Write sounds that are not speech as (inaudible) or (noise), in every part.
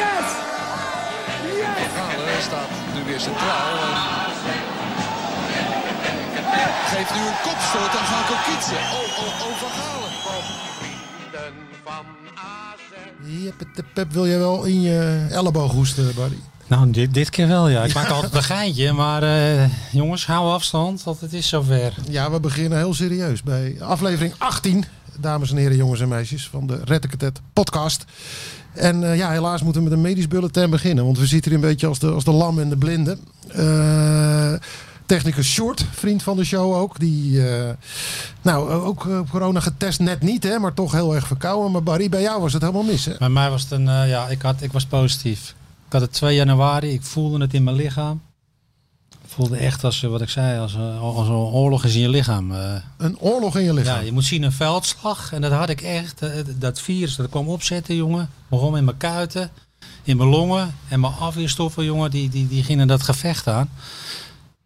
Yes! Yes! Galen staat nu weer centraal. Geeft nu een kopstoot aan Franco Kietsen. Oh, oh, oh, Van Galen. Pep, wil jij wel in je elleboog hoesten, Barry? Nou, dit, dit keer wel, ja. Ik maak altijd een geintje, maar eh, jongens, hou afstand, want het is zover. Ja, we beginnen heel serieus bij aflevering 18, dames en heren, jongens en meisjes, van de Red Cadet podcast. En eh, ja, helaas moeten we met een medisch bulletin beginnen, want we zitten hier een beetje als de, als de lam en de blinde. Eh, technicus Short, vriend van de show ook, die eh, nou ook eh, op corona getest, net niet hè, maar toch heel erg verkouden. Maar Barry, bij jou was het helemaal mis hè? Bij mij was het een, eh, ja, ik, had, ik was positief. Ik had het 2 januari, ik voelde het in mijn lichaam. Ik voelde echt als, eh, wat ik zei, als, eh, als een oorlog is in je lichaam. eh. Een oorlog in je lichaam. ja, je moet zien een veldslag en dat had ik echt. eh, dat virus, dat kwam opzetten, jongen. Begon in mijn kuiten, in mijn longen en mijn afweerstoffen, jongen, die, die, die gingen dat gevecht aan.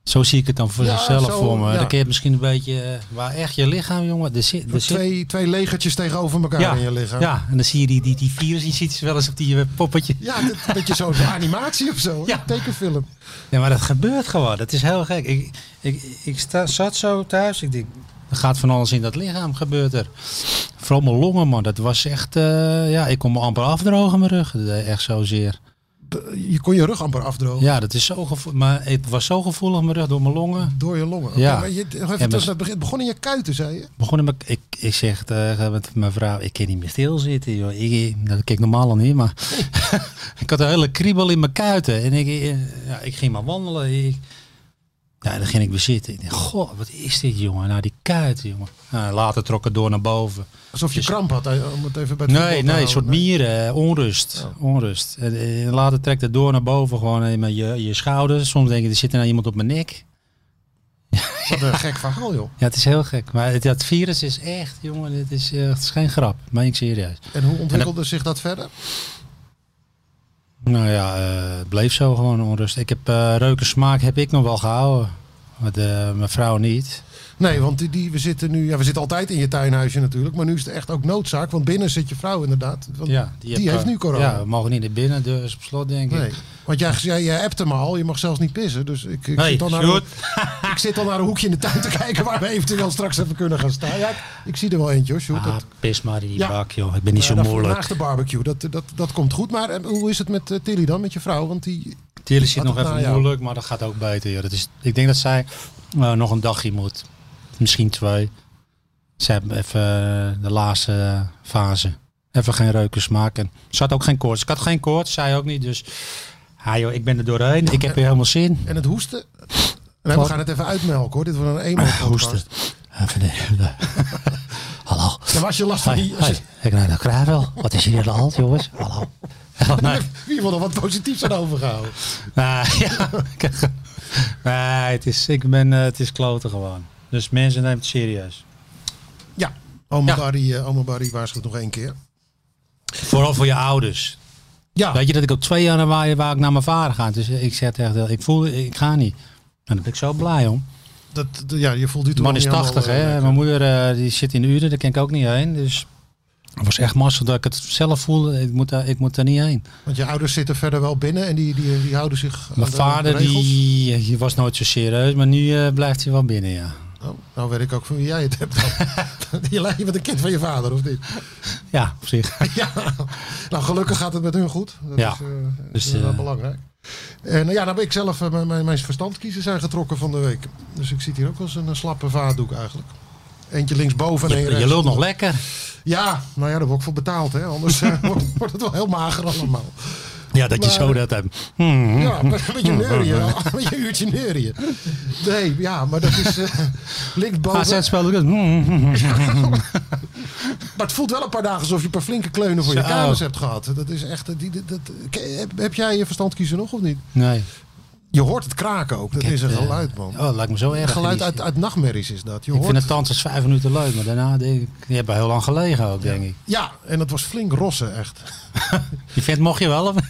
Zo zie ik het dan voor Ja, zichzelf zo, voor me. ja. Dan kun je het misschien een beetje, eh, maar echt je lichaam, jongen. Er zit, er zit twee, twee legertjes tegenover elkaar in je lichaam. Ja, en dan zie je die, die, die virus, je ziet ze wel eens op die eh, poppetje. Ja, dit- een beetje zo'n animatie of zo. Ja. Tekenfilm. Ja, maar dat gebeurt gewoon. Dat is heel gek. Ik, ik, ik sta, zat zo thuis. Ik denk, er gaat van alles in dat lichaam gebeurt er. Vooral mijn longen, man. Dat was echt... eh, ja, ik kon me amper afdrogen, mijn rug. Dat deed echt zozeer. De- Je kon je rug amper afdrogen Ja, dat is zo gevoelig. Maar het was zo gevoelig, mijn rug, door mijn longen. door je longen. Ja. Oké, maar je, nog even maar- terug naar het begin. Het begon in je kuiten, zei je? Begonnen met, ik, ik zeg tegen met mijn vrouw, ik kan niet meer stilzitten. Joh. Ik, eh, dat keek normaal al niet, maar (laughs) ik had een hele kriebel in mijn kuiten. En ik, eh, ja, ik ging maar wandelen. Ik, ja, dan ging ik weer zitten. Ik dacht, goh, wat is dit, jongen? Nou, die kuiten, jongen. Nou, later trok het door naar boven. Alsof je Dus- kramp had, eh, om het even bij het voetbal te Nee, nee, houden. Oh. een soort mieren, eh, onrust. onrust. En, eh, later trekt het door naar boven, gewoon in mijn- je, je schouder. Soms denk ik, er zit er nou iemand op mijn nek. Wat een gek verhaal, joh. Ja, het is heel gek. Maar het, dat virus is echt, jongen, het is, eh, het is geen grap. Meen ik serieus. En hoe ontwikkelde zich dat verder? Nou ja, eh, het bleef zo gewoon onrust. Ik heb eh reukensmaak heb ik nog wel gehouden. Maar de, mijn vrouw niet. Nee, want die, die, we zitten nu... Ja, we zitten altijd in je tuinhuisje natuurlijk. Maar nu is het echt ook noodzaak. Want binnen zit je vrouw inderdaad. Want die heb, heeft eh, nu corona. Ja, we mogen niet naar binnen, dus op slot denk Nee. ik. Want jij, jij, jij appt hem al. Je mag zelfs niet pissen. Dus ik, ik, Nee, zit al naar Sjoerd. een, ik zit al naar een hoekje in de tuin te kijken... waar we eventueel straks even kunnen gaan staan. Ja, ik, ik zie er wel eentje, hoor, Sjoerd. Ah, Dat- pis maar in die Ja. bak, joh. Ik ben niet Ja, zo dat- moeilijk. Naast de barbecue, dat, dat, dat komt goed. Maar eh, hoe is het met eh, Tilly dan, met je vrouw? Want die, Tilly zit Had nog het even nou, ja. moeilijk, maar dat gaat ook beter, joh. Dat is, ik denk dat zij eh, nog een dagje moet. Misschien twee. Ze hebben even eh, de laatste eh, fase. Even geen reukensmaak. En ze had ook geen koorts. Ik had geen koorts, zij ook niet. Dus ah, joh, ik ben er doorheen. Ik heb hier helemaal zin. en het hoesten? Nee, we Wat? Ah, gaan het even uitmelken hoor. Dit wordt een eenmaal Hoesten. Even Eh, de- (laughs) Hallo. Dan was je last van Hoi, die... hoi. Ik neem dat graag wel. Wat is hier aan de hand, jongens? Hallo. Nou, Nee, Wie wil er wat positiefs aan overgehouden? nee, nou, (laughs) ja. Kijk. nee het, is, ik ben, eh, het is kloten gewoon. Dus mensen nemen het serieus. Ja, oma, Ja. Barry, eh, oma Barry waarschuwt nog één keer. Vooral voor je ouders. Ja, Weet je dat ik op 2 januari waar ik naar mijn vader ga. Dus eh, ik zeg echt, eh, ik voel, ik ga niet. En daar ben ik zo blij om. dat, d- ja je voelt die De toen nog man is niet helemaal, 80, eh, hè. lekker. Mijn moeder eh, die zit in Uren, daar kan ik ook niet heen. Dus het was echt massa dat ik het zelf voelde. Ik moet daar, ik moet daar niet heen. Want je ouders zitten verder wel binnen en die, die, die houden zich aan Mijn de vader regels. die, die was nooit zo serieus, maar nu eh, blijft hij wel binnen, ja. Oh, nou weet ik ook van wie jij het hebt. (laughs) dan. je lijkt je met een kind van je vader, of niet? Ja, op zich. Ja, (laughs) nou gelukkig gaat het met hun goed. Dat Ja. is, eh, Dus, dat is wel eh, belangrijk. En nou ja, nou ben ik zelf, eh, mijn, mijn, mijn verstandkiezen zijn getrokken van de week. Dus ik zit hier ook wel eens een eh, slappe vaatdoek eigenlijk. Eentje linksboven en Je, één je rechts. lult nog lekker. (laughs) Ja, nou ja, daar word ik voor betaald hè. Anders eh, wordt wordt het wel heel mager allemaal. Ja, dat je zo dat hebt. Hmm. Ja, maar een beetje neurieën. ja. Een beetje een uurtje neurieën. Nee, ja, maar dat is... eh, ligt boven. AZ speelt ook eens. (laughs) Hmm. Maar het voelt wel een paar dagen alsof je een paar flinke kleunen voor je Zo. kamers hebt gehad. Dat is echt... eh, Die, dat, dat- ke- heb, heb jij je verstand kiezen nog of niet? Nee. Je hoort het kraken ook. Dat Ik heb, is een eh, geluid, man. Oh, dat lijkt me zo Een erg. geluid Die- uit, uit nachtmerries is dat. Je Ik hoort vind het tantes vijf minuten leuk, maar daarna denk ik, die hebben heel lang gelegen ook, denk ik. Ja, en dat was flink rossen, echt. Die vent mocht je wel, of? (laughs)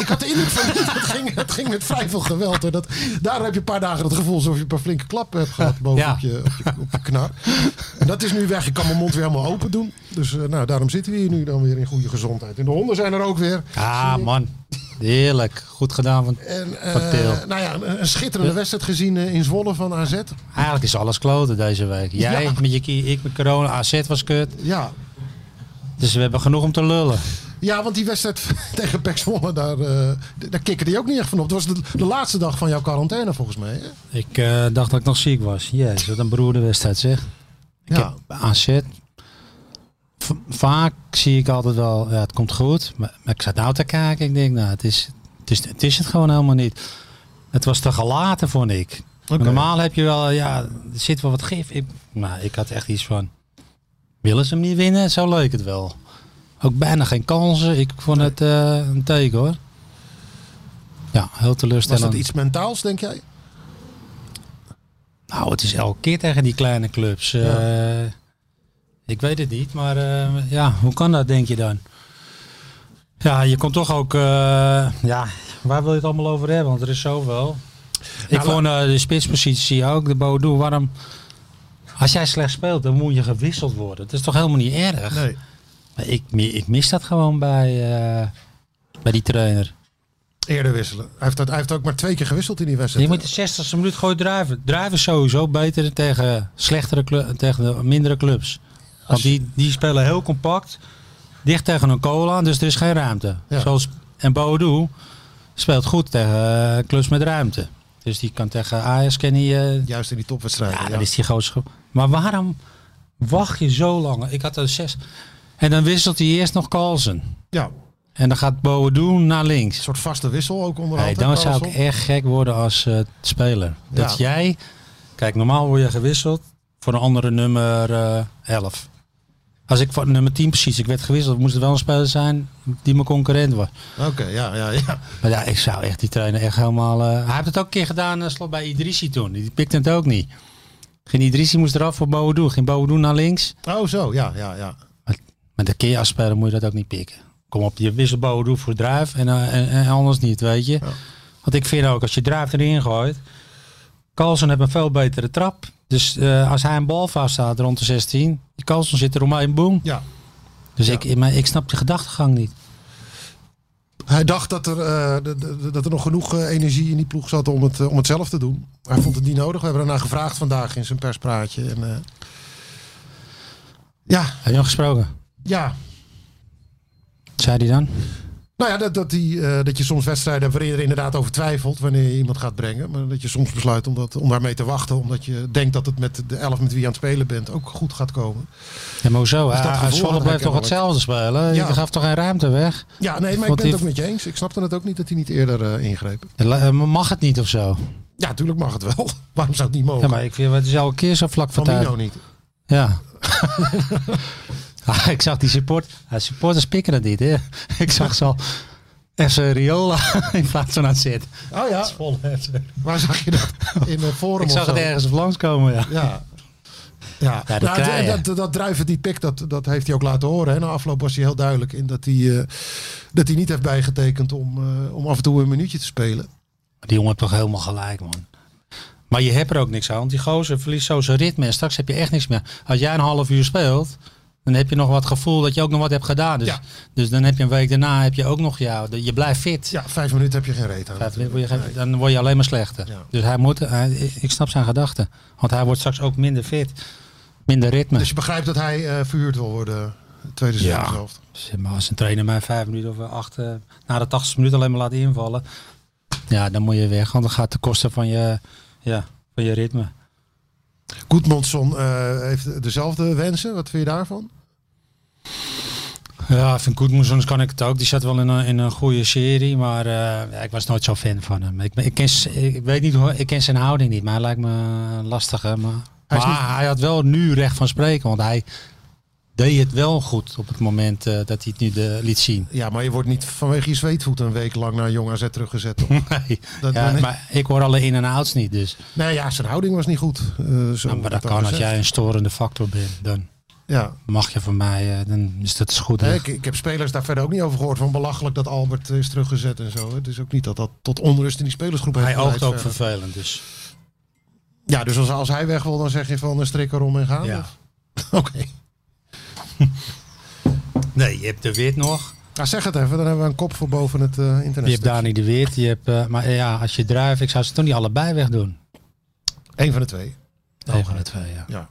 Ik had de indruk van, het ging, het ging met vrij veel geweld. hoor. dat, daar heb je een paar dagen het gevoel alsof je een paar flinke klappen hebt (laughs) gehad boven Ja. op, je, op, je, op je knar. En dat is nu weg. Ik kan mijn mond weer helemaal open doen. Dus eh, nou, daarom zitten we hier nu dan weer in goede gezondheid. En de honden zijn er ook weer. Ah, man. Heerlijk. Goed gedaan. Van, En Van eh, Til. nou ja, een, een schitterende wedstrijd gezien eh, in Zwolle van AZ. eigenlijk is alles kloten deze week. Jij Ja. met je kie, ik met corona, AZ was kut. Ja, Dus we hebben genoeg om te lullen. Ja, want die wedstrijd (laughs) tegen Pek Zwolle, daar, eh daar kikkerde je ook niet echt van op. Dat was de, de laatste dag van jouw quarantaine volgens mij. Hè? Ik eh, dacht dat ik nog ziek was. Jezus, wat een beroerde wedstrijd zeg. Ik Ja. heb AZ. V- vaak zie ik altijd wel, ja, het komt goed. Maar, maar ik zat nou te kijken. Ik denk, nou, het is het, is, het, is het gewoon helemaal niet. Het was te gelaten, vond ik. Oké. Normaal heb je wel, ja, er zit wel wat gif. Ik, nou, ik had echt iets van, willen ze hem niet winnen? Zo leek het wel. Ook bijna geen kansen. Ik vond het eh, een teken hoor. Ja, heel Was teleurstellend. dat iets mentaals, denk jij? Nou, het is elke keer tegen die kleine clubs. Eh, ik weet het niet, maar eh, ja, hoe kan dat denk je dan? Ja, je komt toch ook... eh, ja, waar wil je het allemaal over hebben? Want er is zoveel. Ik Nou, vond eh, de spitspositie ook, de Bodo. Waarom... Als jij slecht speelt, dan moet je gewisseld worden. Dat is toch helemaal niet erg? Nee. Maar Ik, mi- ik mis dat gewoon bij, eh, bij die trainer. Eerder wisselen. Hij heeft, dat, hij heeft ook maar twee keer gewisseld in die wedstrijd. Je moet de 60ste minuut gooien drijven. Drijven is sowieso beter tegen slechtere clu- tegen de mindere clubs. Want die, die spelen heel compact, dicht tegen een goal aan, dus er is geen ruimte. Ja. Zoals, en Boadu speelt goed tegen eh, clubs met ruimte. Dus die kan tegen Ajax kan hij, eh, Juist in die topwedstrijden. ja, Ja, dat is die grootste groep. Maar waarom wacht je zo lang? Ik had er zes. En dan wisselt hij eerst nog Carlsen. Ja, En dan gaat Boadu naar links. een soort vaste wissel ook onder Hey, andere. dan zou ik Carlson. echt gek worden als eh, speler. Dat jij, kijk, normaal word je gewisseld voor een andere nummer eh 11. Als ik voor nummer 10 precies, ik werd gewisseld, moest het wel een speler zijn die mijn concurrent was. Oké, ja, ja, ja. Maar ja, ik zou echt die trainer echt helemaal. eh, hij heeft het ook een keer gedaan eh, slot bij Idrissi toen. Die pikte het ook niet. Geen Idrissi moest eraf voor Boudou. Ging Boudou naar links. Oh, zo, ja, ja, ja. Maar de keer als speler moet je dat ook niet pikken. Kom op, je wisselt Boudou voor Druif en, eh, en, en anders niet, weet je. Want ik vind ook, als je Druif erin gooit... Carlsen heeft een veel betere trap. Dus eh, als hij een bal vasthoudt rond de 16... Die Carlsen zit er omheen, boom. Ja. Dus ik, maar ik snap de gedachtegang niet. Hij dacht dat er, eh, d- d- dat er nog genoeg eh, energie in die ploeg zat om het, eh, om het zelf te doen. Hij vond het niet nodig. We hebben ernaar gevraagd vandaag in zijn perspraatje. En, eh, ja, Heb je nog gesproken? ja, Wat zei hij dan? Nou ja, dat, dat, die, eh, dat je soms wedstrijden hebt waarin je er inderdaad over twijfelt wanneer je iemand gaat brengen. Maar dat je soms besluit om, dat, om daarmee te wachten. Omdat je denkt dat het met de elf met wie je aan het spelen bent ook goed gaat komen. Ja, maar hoezo? dat Ah, gevoel had Zwolle hij blijft toch kennelijk. hetzelfde spelen? Ja. Je gaf toch geen ruimte weg? Ja, nee, maar ik Want ben het die- ook met je eens. Ik snapte het ook niet dat hij niet eerder eh, ingreep. La- Mag het niet of zo? Ja, natuurlijk mag het wel. (laughs) Waarom zou het niet mogen? Ja, maar ik vind het is elke keer zo vlak Van voor tijd. Mino niet. Ja. (laughs) Ah, ik zag die support, ah, supporters pikken dat niet, hè? (laughs) Ik zag ze al FC Riola (laughs) in plaats van AZ. Oh ja, Vol waar zag je dat? In een forum Ik of zag zo. het ergens op langskomen, ja. Ja. Ja, dat Nou, krijg je. dat, dat, dat druiven die pik, dat, dat heeft hij ook laten horen. Hè. Na afloop was hij heel duidelijk in dat hij, eh, dat hij niet heeft bijgetekend om, eh, om af en toe een minuutje te spelen. Die jongen heeft toch helemaal gelijk, man. Maar je hebt er ook niks aan, want die gozer verliest zo zijn ritme en straks heb je echt niks meer. Als jij een half uur speelt, dan heb je nog wat gevoel dat je ook nog wat hebt gedaan. Dus, Ja. dus dan heb je een week daarna heb je ook nog jou. Je blijft fit. Ja, vijf minuten heb je geen reet aan. Vijf minuten word je geen- dan word je alleen maar slechter. Ja. Dus hij moet, hij, ik snap zijn gedachten. Want hij wordt straks ook minder fit, minder ritme. Dus je begrijpt dat hij eh, verhuurd wil worden. het Tweede Ja. seizoen zelf. Zeg maar als een trainer mij vijf minuten of acht, eh, na de tachtigste minuut alleen maar laat invallen. Ja, dan moet je weg, want dan gaat de kosten van je, ja, van je ritme. Goedmondson eh, heeft dezelfde wensen. Wat vind je daarvan? Ja, vind Koetmoesons kan ik het ook. Die zat wel in een, in een goede serie, maar eh, ja, ik was nooit zo fan van hem. Ik, ben- ik, ken, z- ik weet niet, hoe- ik ken zijn houding niet, maar hij lijkt me een lastige. Maar, Hij is maar niet- hij had wel nu recht van spreken, want hij deed het wel goed op het moment eh, dat hij het nu de, liet zien. (laughs) Ja, maar je wordt niet vanwege je zweetvoet een week lang naar Jong AZ teruggezet. toch? Nee, Dat ja, ben ik. maar ik hoor alle in- en outs niet, dus. nee, ja, zijn houding was niet goed. eh, zo Nou, maar dat wordt kan als gezegd. jij een storende factor bent, dan Ja, mag je van mij, eh, dan is dat goed. Hè, ik, ik heb spelers daar verder ook niet over gehoord. Van belachelijk dat Albert is teruggezet en zo. hè. Het is ook niet dat dat tot onrust in die spelersgroep heeft Hij oogt geleid ook verder. vervelend, dus. Ja, dus als, als hij weg wil, dan zeg je van een strik erom en gaan. Ja. of? (laughs) Oké. Nee, je hebt de wit nog. Nou, zeg het even, dan hebben we een kop voor boven het eh, internet. Je hebt Dani de Weert, je hebt, eh, maar eh, ja, als je druift, ik zou ze toch niet allebei wegdoen. Eén van de twee. Een van de twee, ja. Ja.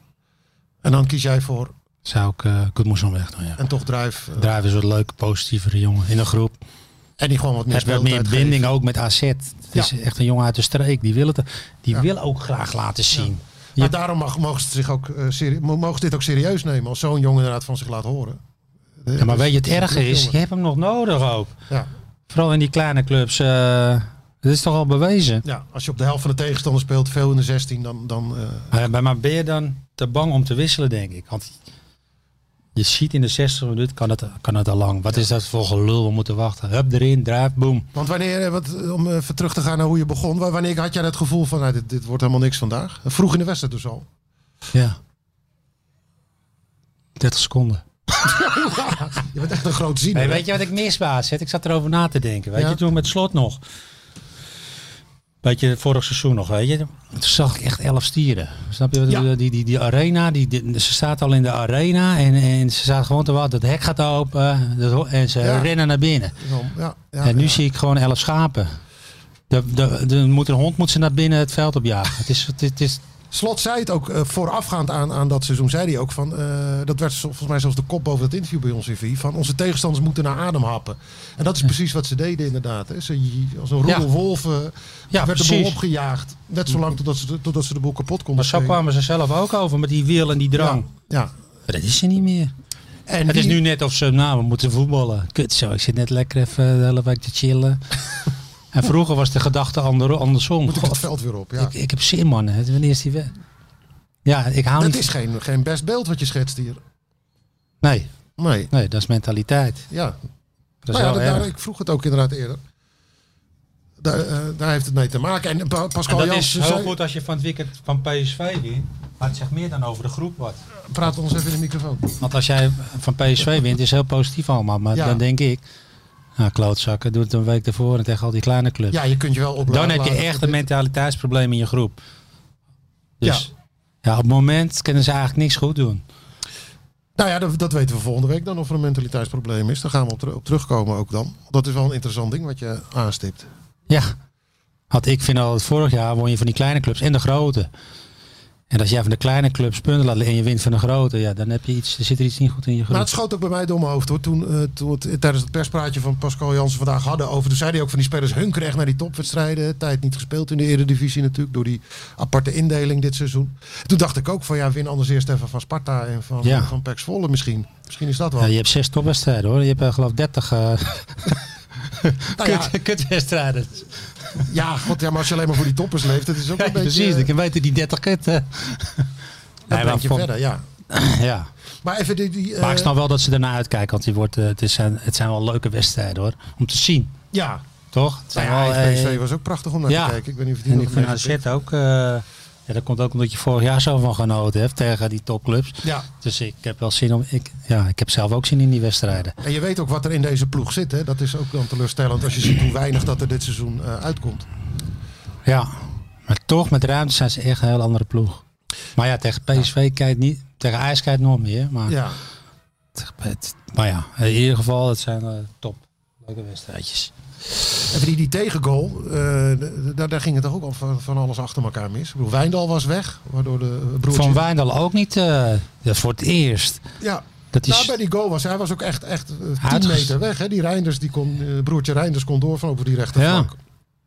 En dan kies jij voor Zou ik uh, Kutmoesom wegdoen, ja. en toch drijf. eh, Druif is een leuke, positievere jongen in de groep. en die gewoon wat meer Heeft wat meer speeltijd binding geeft. ook met AZ. Het is echt een jongen uit de streek. Die wil, het, die Ja. wil ook graag laten zien. Maar daarom mag, mogen, ze zich ook, eh, serie- mo- mogen ze dit ook serieus nemen. Als zo'n jongen inderdaad van zich laat horen. Eh, Ja, maar weet je, het dat is een erge is, je jongen. hebt hem nog nodig ook. Ja. Vooral in die kleine clubs. eh dat is toch al bewezen. Ja, als je op de helft van de tegenstander speelt, veel in de 16, dan. dan eh, Maar bij maar ben je dan te bang om te wisselen, denk ik. Want je ziet in de 60 minuten kan het, kan het al lang. Wat is dat voor gelul? We moeten wachten. Hup erin, draaf, boom. Want wanneer, eh, wat, om even terug te gaan naar hoe je begon, wa- wanneer had jij het gevoel van nou, dit, dit wordt helemaal niks vandaag? Vroeg in de wedstrijd dus al. Ja. 30 seconden. Je bent echt een groot ziener. Nee, hè? weet je wat ik mis, baas? Ik zat erover na te denken. Weet Ja. je, toen met slot nog. Weet je, vorig seizoen nog, weet je. Toen zag ik echt elf stieren. Snap je? wat ik Ja. bedoel? Die, die, die arena, die, die- ze staat al in de arena. En, en ze staat gewoon te wachten. Het hek gaat open. dat ho- en ze Ja. rennen naar binnen. Ja, ja, en nu ja. zie ik gewoon elf schapen. De, de, de, moet een hond moet ze naar binnen het veld opjagen. het is, het, is- het is Slot zei het ook eh, voorafgaand aan, aan dat seizoen. Zei hij ook van. eh, dat werd zo- volgens mij zelfs de kop boven het interview bij ons in V. Van onze tegenstanders moeten naar adem happen. En dat is precies wat ze deden, inderdaad. Hè. Ze, als een roedel Ja. wolven eh, Ja, werd de boel precies. opgejaagd. Net zolang totdat ze, de- totdat ze de boel kapot konden. Maar zo spelen. kwamen ze zelf ook over met die wil en die drang. Ja. Maar dat is ze niet meer. En het is wie- nu net of ze, nou, we moeten voetballen. Kut zo, ik zit net lekker even de hele week te (laughs) chillen. en vroeger was de gedachte ander, andersom. moet ik het God, veld weer op. Ja. ik, ik heb zin, man. Het- Wanneer is die weg? Ja, ik hou Dat niet... is geen, geen best beeld wat je schetst hier. Nee, Nee, nee, dat is mentaliteit. ja. Dat is Nou ja, wel dat- daar- erg. ik vroeg het ook inderdaad eerder. Daar, eh, daar heeft het mee te maken. En Pa- Pascal En dat is Jansen heel zei- goed als je van het weekend van PSV wint. Maar het zegt meer dan over de groep wat. praat ons even in de microfoon. Want als jij van PSV wint, is heel positief allemaal. Maar Ja. dan denk ik, nou, klootzakken, doe het een week ervoor en tegen al die kleine clubs. Ja, je kunt je wel op. dan heb je echt een mentaliteitsprobleem in je groep. Dus ja. op het moment kunnen ze eigenlijk niks goed doen. Nou ja, dat, dat weten we volgende week dan of er een mentaliteitsprobleem is. Daar gaan we op, ter- op terugkomen ook dan. Dat is wel een interessant ding wat je aanstipt. Ja, want ik vind al, vorig jaar won je van die kleine clubs en de grote. En als jij van de kleine clubs punten laat liggen en je wint van de grote, ja, dan heb je iets, er zit er iets niet goed in je Maar groep. het schoot ook bij mij door mijn hoofd hoor. Toen, eh, toen we het- tijdens het perspraatje van Pascal Jansen vandaag hadden over. Toen zei hij ook van die spelers hunkeren echt naar die topwedstrijden. Tijd niet gespeeld in de Eredivisie natuurlijk. Door die aparte indeling dit seizoen. Toen dacht ik ook van ja, win anders eerst even van Sparta en van, Ja. van Pax Volle misschien. Misschien is dat wel. Ja, je hebt zes topwedstrijden hoor. Je hebt eh, geloof ik 30 eh Nou ja, kut- kutwedstrijden. (laughs) ja, god, ja, maar als je alleen maar voor die toppers leeft. Het is ook Ja, een beetje. eh, precies, dan weten die 30 kut. eh. dat Nee, maar brengt je van- verder, ja. Ja. Maar even die. die Maar ik eh, snap wel dat ze ernaar uitkijken, want die wordt, eh, het, is zijn, het zijn wel leuke wedstrijden hoor. Om te zien, Ja, toch? Het zijn nou ja, wel, en PSV eh, was ook prachtig om naar ja. te kijken. Ik ben niet of die en nog ik vind gemist AZ heeft. ook, eh, ja, dat komt ook omdat je vorig jaar zo van genoten hebt tegen die topclubs. Ja, Dus ik heb wel zin om, ik, ja, ik heb zelf ook zin in die wedstrijden. en je weet ook wat er in deze ploeg zit. Hè? Dat is ook dan teleurstellend als je ziet hoe weinig dat er dit seizoen eh, uitkomt. Ja, maar toch met ruimte zijn ze echt een heel andere ploeg. Maar ja, tegen PSV kijkt niet, tegen IJs kijkt nog meer. Maar, Ja. tegen het- maar ja, in ieder geval, het zijn eh, top. Leuke wedstrijdjes. En die, die tegengoal, eh, d- daar, daar ging het toch ook al van, van alles achter elkaar mis. Ik bedoel, Wijndal was weg, waardoor de eh, broertje... Van Wijndal ook niet, eh, dat is voor het eerst. ja, Dat is, nou, bij die goal was hij was ook echt, echt eh, 10 Uitges- meter weg. Hè? Die Reinders, die kon, eh, broertje Reinders kon door van over die rechterflank.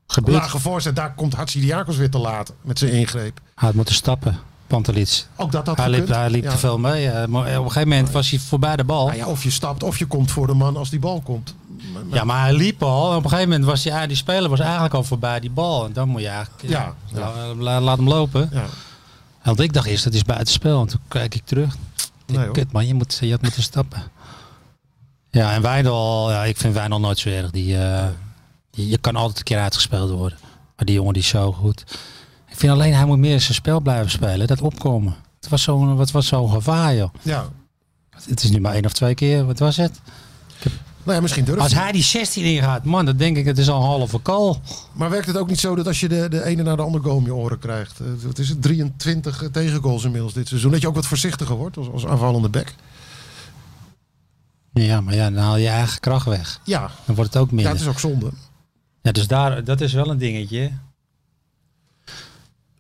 gebeurt. Lage voorzet, daar komt Hatsidiakos weer te laat met zijn ingreep. Hij had moeten stappen. Pantelits. Ook dat had Hij liep, gekund. hij liep Ja. te veel mee. eh, maar op een gegeven moment was hij voorbij de bal. Nou ja, of je stapt of je komt voor de man als die bal komt. Ja, maar hij liep al. En op een gegeven moment was die, ah, die speler was eigenlijk al voorbij die bal. En dan moet je eigenlijk... eh, Ja, ja. la- la- laat hem lopen. Ja. Want ik dacht eerst, dat is buitenspel. En toen kijk ik terug. Nee, hoor. Kut man, je, moet, je had moeten stappen. Ja, en Wijndal, ja, ik vind Wijndal nooit zo erg. Die, eh, die- je kan altijd een keer uitgespeeld worden. Maar die jongen die is zo goed. Ik vind alleen, hij moet meer zijn spel blijven spelen. Dat opkomen. Het was zo'n wat was zo'n gevaar, joh. ja. Het is nu maar één of twee keer. Wat was het? Nou ja, misschien durft Als hij. hij die 16 ingaat, man, dan denk ik, het is al een halve call. Maar werkt het ook niet zo dat als je de, de ene naar de andere goal om je oren krijgt? eh, Wat is het? 23 tegengoals inmiddels dit seizoen. Dat je ook wat voorzichtiger wordt als, als aanvallende back. Ja, maar ja, dan haal je je eigen kracht weg. Ja, Dan wordt het ook ja minder. dat is ook zonde. Ja, dus daar, dat is wel een dingetje.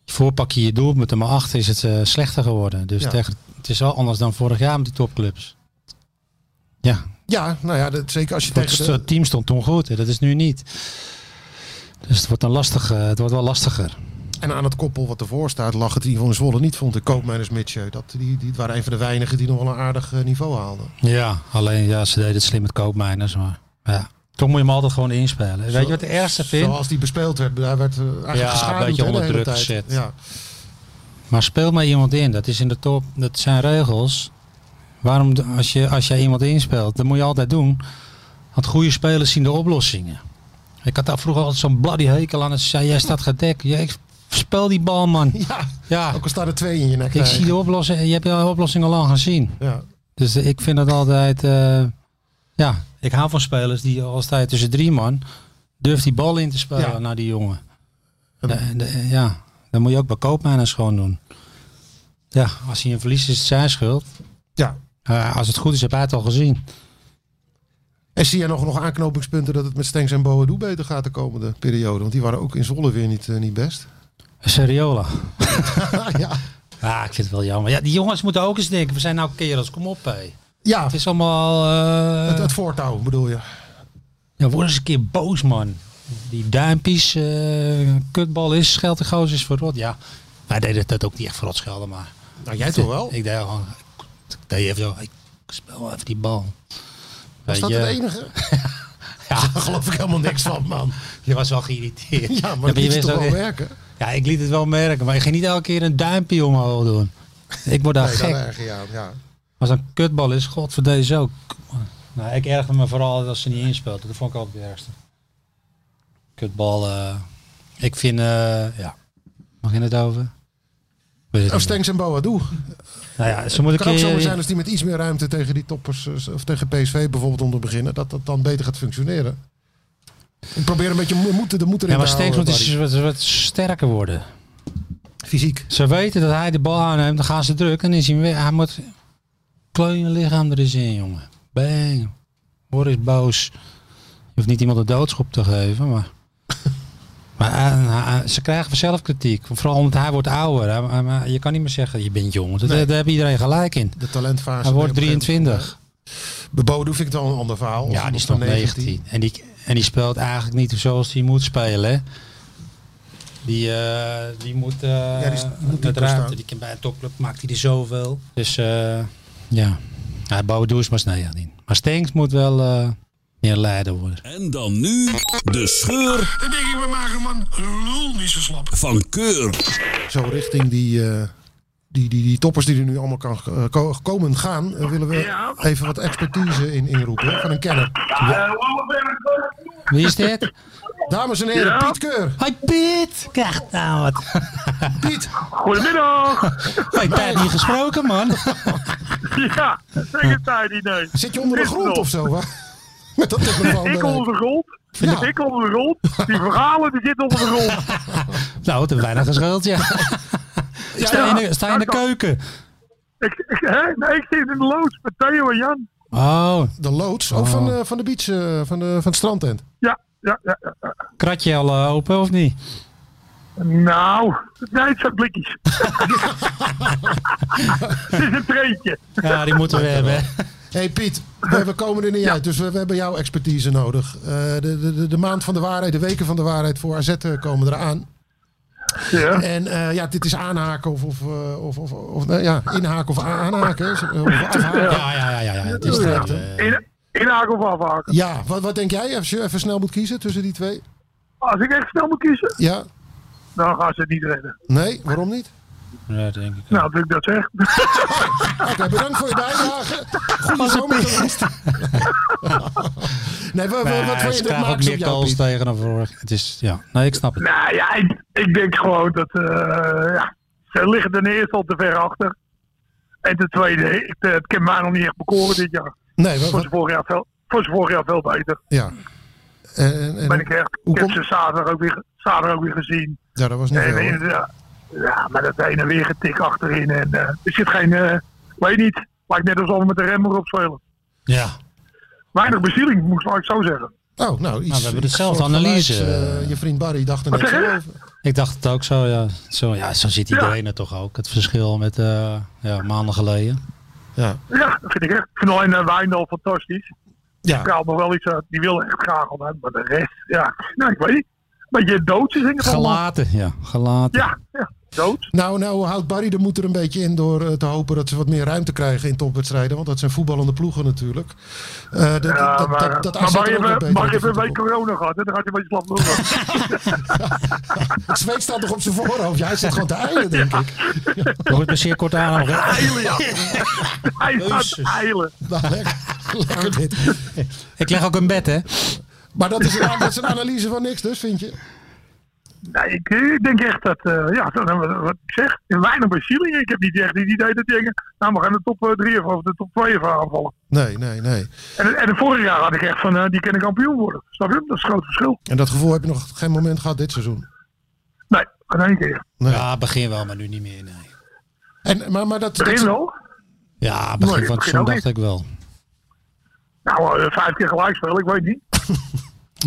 Voor pak je je doel, met maar achter is het eh, slechter geworden. Dus Ja. tegen, het is wel anders dan vorig jaar met die topclubs. Ja, Ja, nou ja, dat, zeker als je het tegen st- de- team stond toen goed, hè, dat is nu niet. Dus het wordt, dan lastig, eh, het wordt wel lastiger. En aan het koppel wat ervoor staat lag het in ieder geval in Zwolle niet, vond ik. Koopmeiners Mitje, dat die, die waren een van de weinigen die nog wel een aardig eh, niveau haalden. Ja, alleen ja, ze deden het slim met koopmijners. Maar ja. toch moet je hem altijd gewoon inspelen. Weet je wat de ergste vindt? Zoals die bespeeld werd, daar werd eh, eigenlijk Ja, een geschaduwd, beetje hè, de onder hele druk tijd. gezet. Ja. (laughs) Maar speel maar iemand in. Dat is in de top. Dat zijn regels. Waarom, d- als, je, als jij iemand inspeelt, dat moet je altijd doen. Want goede spelers zien de oplossingen. Ik had daar vroeger altijd zo'n bloody hekel aan. En ze zei, jij staat gedekt. Ja, ik speel die bal, man. ja, Ja, ook al staan er twee in je nek. ik zie eigenlijk. de oplossing. Je hebt de oplossing al lang gezien. Ja. Dus eh, ik vind dat altijd... eh, ja, ik hou van spelers die al sta je tussen drie man... durft die bal in te spelen Ja. naar die jongen. En- Eh, de- ja, dat moet je ook bij koopmijners gewoon doen. Ja, als hij een verlies is het zijn schuld. ja. Eh, als het goed is, heb hij het al gezien. En zie jij nog, nog aanknopingspunten dat het met Stengs en Boadu beter gaat de komende periode? Want die waren ook in Zwolle weer niet, eh, niet best. Seriola. (laughs) ja. Ja, ik vind het wel jammer. Ja, die jongens moeten ook eens denken, we zijn nou kerels, kom op hé. Ja, Het is allemaal... eh, het, het voortouw bedoel je. Ja, Nou, word eens een keer boos, man. Die duimpjes, eh, kutbal is, scheld de gozer is verrot. Ja, wij deden dat ook niet echt verrot schelden, maar... Nou, jij toch wel? Ik deed gewoon... Ik deed even zo, ik speel even die bal. Was Weet dat je? het enige? Ja, (laughs) Daar geloof ik helemaal niks van, man. je was wel geïrriteerd. Ja, maar dat je is wist toch ook- wel werken? Ja, ik liet het wel merken, maar ik ging niet elke keer een duimpje omhoog doen. Ik word daar Nee, daar gek. erg je aan, ja. Als dat een kutbal is, god voor deze ook. Nou, ik erger me vooral als ze niet inspeelt. Dat vond ik altijd de ergste. Kutbal. eh, ik vind, eh, ja. Mag je het over? Of Weet het niet meer. Stengs en Boadu. nou ja, ze Het Oh, kan moeten een ook zo keer- zijn als die met iets meer ruimte tegen die toppers eh, of tegen PSV bijvoorbeeld onder beginnen, dat dat dan beter gaat functioneren. Ik probeer een beetje mo- moeten de moeder in Ja, maar te Stenks moet houden, eens wat, wat sterker worden. Barry. fysiek. Ze weten dat hij de bal aanneemt, dan gaan ze druk en dan is hij weer. Hij moet kleunen lichaam er eens in, jongen. Bang. Word eens boos. Je hoeft niet iemand een doodschop te geven, maar. (laughs) maar eh, eh, eh, ze krijgen vanzelf kritiek. Vooral omdat hij wordt ouder. Hij- hij- maar je kan niet meer zeggen, je bent jong. Dat, Nee. Daar heeft iedereen gelijk in. De talentfase. Hij wordt ben je op een gegeven moment- 23. Bij Boadu vind ik dan een ander verhaal. Of Ja, die of is nog van 19. En die, en die speelt eigenlijk niet zoals hij moet spelen. hè. Die, eh, die moet, eh die is- die moet met dieper ruimte. staan. Die kan bij een topclub maakt hij er zoveel. Dus eh, ja, hij bouwt doers maar snel niet. Maar Stenks moet wel eh, meer leider worden. En dan nu de scheur Dan denk ik, we maken man lul niet zo slap. van Keur. Zo richting die, eh, die, die, die toppers die er nu allemaal kan, eh, ko- komen gaan, eh, willen we Ja. even wat expertise in, inroepen hè, van een kenner. Wie is (laughs) dit? Dames en heren, Piet Keur. Hoi Piet! Krijg nou wat. Piet, (laughs) Goedemiddag. Hoi, tijd niet gesproken man. (laughs) Nou, Ja, ik heb tijd niet, nee. zit je onder de grond of zo? waar? (laughs) Met dat eh, telefoon. Ik onder de grond. Ja. Ik onder de grond. Die verhalen die zitten onder de (laughs) grond. nou, het heeft weinig gescheeld ja. sta, je in de, sta je in de keuken? Ik, ik, hè? Nee, ik zit in de loods met Theo en Jan. Oh, De loods. Ook van, eh, van de beach, eh, van, de, van het strandtent. Ja, ja, ja. ja. kratje al eh, open of niet? Nou, nee, het (laughs) zijn blikjes. Het is een treetje. Ja, die (laughs) moeten we hebben. hè. hey Piet, we, we komen er niet uit, dus we, we hebben jouw expertise nodig. Eh, de, de, de, de maand van de waarheid, de weken van de waarheid voor AZ eh, komen eraan. Ja. En eh, ja, dit is aanhaken of, of, eh, of, of, of nou ja, inhaken of aanhaken. Of afhaken. Ja, ja, ja, ja. ja. Het is Ja. dat, eh, In, inhaken of afhaken. Ja, wat, wat denk jij als je even snel moet kiezen tussen die twee? Als ik echt snel moet kiezen, Ja? dan gaan ze het niet redden. Nee? Waarom niet? ja, dat denk ik. ook. Nou, dat ik dat zeg. Oké, bedankt voor je bijdrage. Goeie zomertoerist. (laughs) nee, wat, wat, Maar wat vond ze je dat krijgen ook maakt op meer jou, calls Piet? tegen dan vorig. Het is, ja. Nee, ik snap het. nou ja, ik, ik denk gewoon dat eh, ja, ze liggen ten eerste al te ver achter. En ten tweede, ik, eh, het kan mij nog niet echt bekoren dit jaar. Nee, wat, Voor ze wat- vorig jaar veel, voor ze vorig jaar veel beter. ja. En, en, Ben ik echt. Hoe Ik heb komt- ze zaterdag ook weer, zaterdag ook weer gezien. ja, dat was niet En, veel. hoor. en, ja, ja, maar dat ene weer getik achterin. En, eh, er zit geen, eh, weet niet, lijkt net alsof we met de remmer opspelen. Ja. Weinig bezieling, moet ik zo zeggen. Oh, nou, iets. Nou, we hebben iets dezelfde soortgelijks, analyse. eh, je vriend Barry dacht er net zeg zo je? over. Ik dacht het ook zo, ja. Zo, ja, zo zit iedereen er toch ook. Het verschil met eh, ja, maanden geleden. Ja. Ja, dat vind ik echt. Ik vind alleen uh, Wijndal fantastisch. Ja. Ik haal me wel iets uit. Die wil echt graag al uit. Maar de rest, ja. Nou, ik weet niet. Beetje dood is in ieder geval. Gelaten, ja. Gelaten. Ja, ja, dood. Nou, nou houdt Barry de moed er een beetje in door eh, te hopen dat ze wat meer ruimte krijgen in topwedstrijden. Want dat zijn voetballende ploegen natuurlijk. Eh, dat- Ja, dat- maar, dat- dat maar AZ mag je er ook wat even, beter mag je uit even een de week voetbal- corona gehad? hè? Dan gaat je een beetje slap lullen. (laughs) Het zweet staat nog op zijn voorhoofd. Jij zit gewoon te eilen, denk ik. Nog eens maar zeer kort aan. Eilen, ja. Hij staat te Jezus. eilen. Nou, lekker, lekker dit. Ik leg ook een bed, hè. Maar dat is, een- dat is een analyse van niks dus, vind je? Nee, ik, ik denk echt dat, eh, ja, dat- wat, wat ik zeg, weinig bezieling. Ik heb niet echt het idee dat die denken, nou, we gaan de top 3 of de top 2 even aanvallen. Nee, nee, nee. En, en vorig jaar had ik echt van, eh, die kunnen kampioen worden. Snap je? Dat is een groot verschil. En dat gevoel heb je nog geen moment gehad dit seizoen. Nee, geen één keer. Nee. Ja, begin wel, maar nu niet meer, nee. En, maar, maar dat, Begin dat, wel. Ja, begin Nee, van het begin seizoen ook dacht ik wel. Nou, eh, vijf keer gelijk spelen, ik weet niet.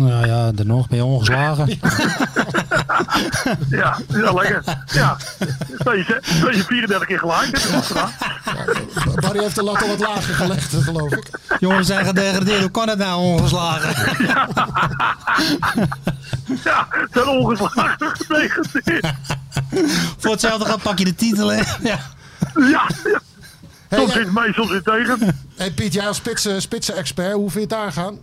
Nou ja, er nog ben je ongeslagen. Ja, ja lekker. (laughs) Ja. Dat je, dat je 34 keer gelijk hebt. dat is gedaan. Barry heeft de lat al wat lager (laughs) gelegd, geloof ik. Jongens zijn gedegradeerd. Hoe kan het nou ongeslagen? Ja, zijn ongeslagen gedegradeerd. Voor hetzelfde gaat pak je de titel, hè. Ja. Ja, ja. Hey, Soms hey, zit mee, soms zit tegen. hey, Piet, jij als spitsen, spitsen expert, hoe vind je het daar gaan?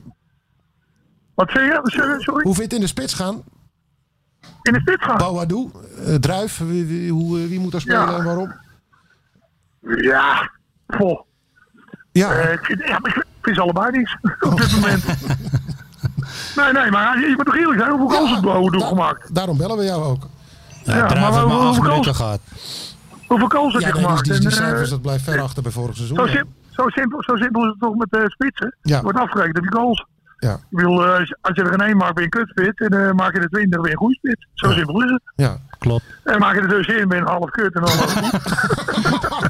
Wat zeg je? Sorry, Sorry. Hoe vind je het in de spits gaan? In de spits gaan. Bouwadou, eh, Druif, wie, wie, hoe, eh, wie moet daar spelen Ja. en waarom? Ja, vol. Ja, Eh, ik, vind, ja, maar ik vind- ik vind ze allebei niks (laughs) op dit (laughs) moment. Nee, nee, maar je je moet toch eerlijk zijn, hoeveel goals het Bouwen da- gemaakt? daarom bellen we jou ook. Ja, Draaf heeft hoe- maar acht hoeveel minuten goals, gehad. hoeveel goals heb Ja, je nee, dus gemaakt? die, die En, eh, cijfers, dat blijft ver achter bij vorig zo, seizoen. sim- zo, simpel, zo simpel is het toch met eh, spitsen? Ja. Wordt afgerekend op je goals. Ja, Ik bedoel, eh, als, als je er geen één maakt, ben je een kutspit. En eh, maak je er twintig, ben je een goed spit. Zo simpel is het. ja. Klopt. En maak je er dus in, ben je een half kut en dan half goed.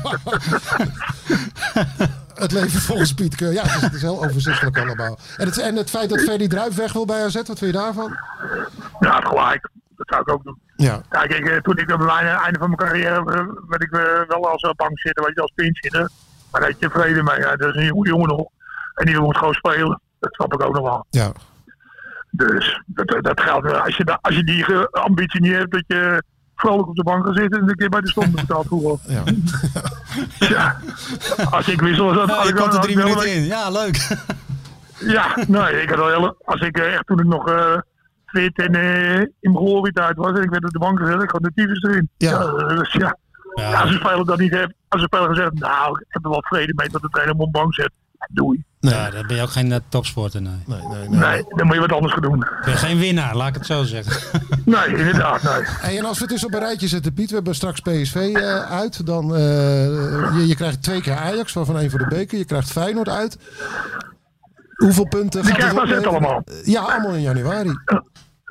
Het leven volgens Piet Keur. Ja, dus het is, het is heel overzichtelijk allemaal. En het, en het feit dat Ferdy Druif weg wil bij AZ, wat vind je daarvan? Ja, gelijk. Dat zou ik ook doen. Ja, Kijk, ik, eh, toen ik aan het einde- einde van mijn carrière eh, werd ik eh, wel als eh, bank zitten, weet je, als pin zitten. Maar daar heb je vrede mee. Ja, dat is een jonge jongen nog. En die moet gewoon spelen. Dat snap ik ook nog wel. ja. Dus dat, dat- dat geldt. eh, Als je, da- als je die eh, ambitie niet hebt, dat je vrolijk op de bank gaat zitten en een keer bij de stond betaald voetbal. ja. Ja. Als ik wissel, was dat had ik wel- kwam er had drie wel een minuten in. Ja, leuk. Ja, nee, ik had al heel, als ik eh, echt toen ik nog eh, fit en eh, in mijn gehoorwiet uit was en ik werd op de bank gezet, ik had de tyfus erin. Ja. dus ja. Ja, als een speler dat niet heeft, als een speler gezegd, nou, ik heb er wel vrede mee dat de trainer hem op de bank zet. Doei. Ja, dan ben je ook geen eh, topsporter, nee. Nee, nee, nee. Nee, dan moet je wat anders gaan doen. Ik ben geen winnaar, laat ik het zo zeggen. Nee, inderdaad, nee. Hey, en als we het dus op een rijtje zetten, Piet, we hebben straks PSV eh, uit. Dan, eh, je, je krijgt twee keer Ajax, waarvan één voor de beker. Je krijgt Feyenoord uit. Hoeveel punten Die gaat het krijgt AZ opleveren? allemaal. Ja, allemaal in januari.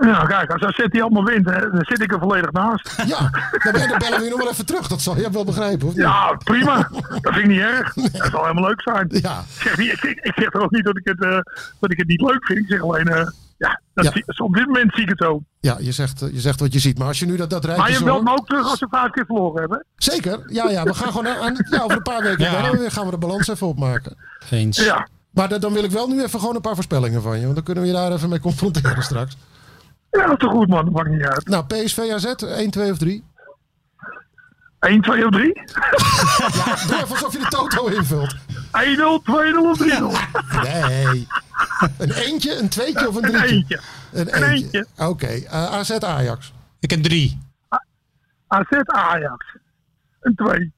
Ja, kijk, als AZ die allemaal wint, hè, dan zit ik er volledig naast. Ja, dan, ben- dan bellen we je nog wel even terug. Dat zal je wel begrijpen, of niet? Ja, prima. (laughs) Dat vind ik niet erg. Dat zal helemaal leuk zijn. Ja. Ik zeg, niet- ik, ik- ik zeg er ook niet dat ik het, eh, dat ik het niet leuk vind. Ik zeg alleen, eh, ja, dat Ja. zie- op dit moment zie ik het zo. Ja, je zegt, eh, je zegt wat je ziet. Maar als je nu dat, dat Maar rijtje je zo belt hoort- me ook terug als ze vijf keer verloren hebben. Zeker. Ja, ja, we gaan gewoon aan, ja, over een paar weken Ja. bellen we weer, gaan we de balans even opmaken. (laughs) Eens. Ja. Maar dat- dan wil ik wel nu even gewoon een paar voorspellingen van je. Want dan kunnen we je daar even mee confronteren straks. Ja, te goed man, maakt niet uit. Nou, PSV AZ, 1, 2 of 3. 1, 2 of (laughs) 3? 1-0, 2-0 Doe even alsof je de toto invult. of 3-0? Nee. Een eentje, een tweetje of een Een drietje? eentje. Een Een eentje. eentje. Oké, eh, AZ Ajax. Ik heb drie. AZ Ajax. Een 2.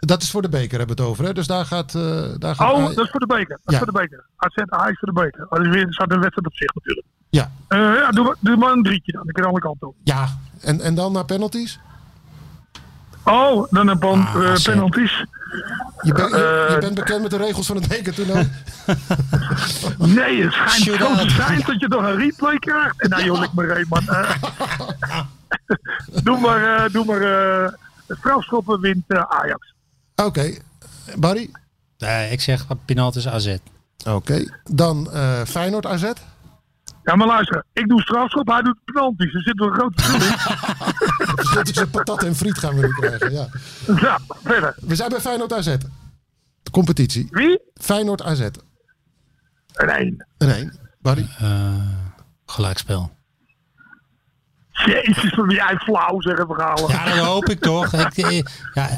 Dat is voor de beker hebben we het over, hè? Dus daar gaat... eh, daar gaat Oh, Aj- dat is voor de beker. Dat is Ja. voor de beker. AZ Ajax voor de beker. Oh, dat is weer, staat een wedstrijd op zich natuurlijk. Ja, Eh, ja, doe, maar- doe maar een drietje dan. Ik kan alle kanten op. ja. En, en dan naar penalties? Oh, dan een pan, Ah, eh, AZ. penalties. Je, bent je, je Eh, bent bekend met de regels van het bekertoernooi. Nee, het schijnt Shootout. zo te zijn dat je nog een replay krijgt. En nou joh, ik maar heen, man. (laughs) Eh, doe maar, eh, doe maar eh, strafschoppen wint eh, Ajax. Oké, Barry? Nee, ik zeg penaltis AZ. Oké. Dan eh, Feyenoord AZ? Ja, maar luister. Ik doe strafschop, hij doet penalties. Er zit wel een groot verschil in. Dat is een patat en friet gaan we nu krijgen, ja. (laughs) Ja, Nou, verder. We zijn bij Feyenoord AZ. De competitie. Wie? Feyenoord AZ. Een één. Een één. Barry? Eh, Gelijkspel. Jezus, van wie jij flauw zeggen verhalen. Ja, dat hoop ik toch. Ik, eh, ja,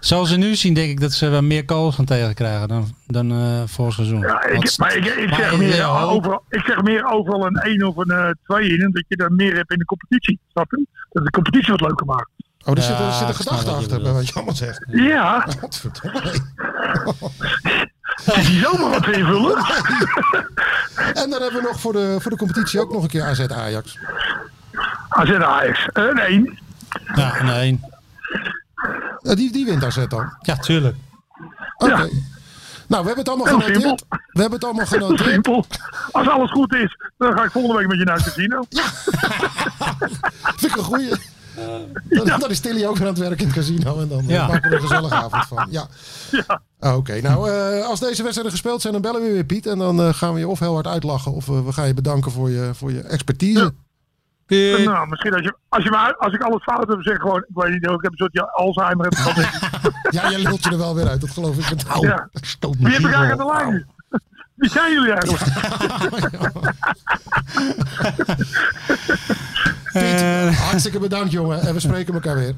zoals ze nu zien, denk ik dat ze wel meer goals gaan tegenkrijgen dan, dan eh vorig seizoen. Ja, ik, Want- maar ik, ik, zeg maar, meer, eh, hoop- overal, ik zeg meer overal een 1 of een eh, 2 in. En dat je daar meer hebt in de competitie. Snap je? Dat de competitie wat leuker maakt. Oh, er zit, Ja, er zit een ik snap gedachte wat je achter bij bedoelt. wat je allemaal zegt. (laughs) Ja, Godverdomme. is die zomaar wat invullen? En dan hebben we nog voor de, voor de competitie ook nog een keer AZ Ajax. AZ Ajax. Eh, Een 1. Ja, een één. Eh, die, die wint AZ dan. Ja, tuurlijk. Oké. Ja. Nou, we hebben het allemaal Heel genoteerd. simpel. We hebben het allemaal Heel genoteerd. simpel. Als alles goed is, dan ga ik volgende week met je naar het casino. Vind ik een goeie. Dan, dan is Tilly ook weer aan het werk in het casino. En dan eh, Ja. maken we er een (laughs) gezellige avond van. Ja. Oké, nou eh, als deze wedstrijden gespeeld zijn, dan bellen we weer Piet. En dan eh, gaan we je of heel hard uitlachen of eh, we gaan je bedanken voor je, voor je expertise. Nou, misschien als, je, als, je maar, als ik alles fout heb, zeg gewoon, ik weet niet, ik heb een soort ja, Alzheimer. Heb ik al niet. Ja, jij lult je er wel weer uit, dat geloof ik. Met... Au. ja. Stoot Wie heb ik eigenlijk aan de lijn? (laughs) Wie zijn jullie eigenlijk? Eh. Hartstikke bedankt, jongen. En we spreken elkaar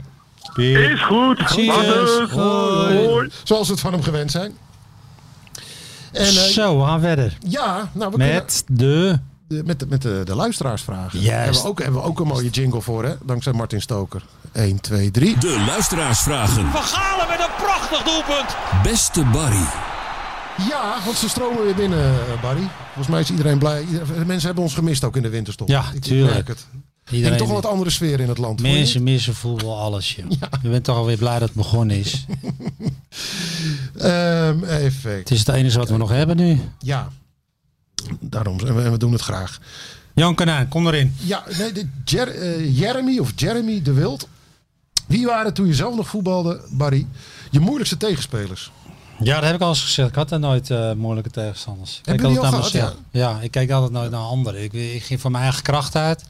weer. Is goed. Later. Hoi. Zoals we het van hem gewend zijn. En eh, Zo, we gaan verder. ja, nou, we kunnen- Met de... De- met, de, met de, de luisteraarsvragen. Juist. Hebben we, ook, hebben we ook een mooie jingle voor, hè? Dankzij Martin Stoker. 1, 2, 3. De luisteraarsvragen. Van Galen met een prachtig doelpunt. Beste Barry. Ja, want ze stromen weer binnen, eh, Barry. Volgens mij is iedereen blij. Ieder- de mensen hebben ons gemist ook in de winterstop. Ja, Ik- ik, tuurlijk. merk het. Er is Iedereen toch een wat andere sfeer in het land. vond je Mensen missen voetbal alles, joh. Je bent toch alweer blij dat het begonnen is. niet? Ehm, even kijken. (laughs) Het is het enige wat we nog hebben nu. Ja. Daarom, en we, en we doen het graag. Jan Kanaan, kom erin. Ja, nee, de Jer- eh, Jeremy of Jeremy de Wild. Wie waren toen je zelf nog voetbalde, Barry, je moeilijkste tegenspelers? Ja, dat heb ik al eens gezegd. Ik had daar nooit eh, moeilijke tegenstanders. Ik kijk Hebben altijd jullie naar al oh, mezelf. gehad, Ja. ik kijk altijd nooit naar anderen. Ik, ik ging van mijn eigen kracht uit.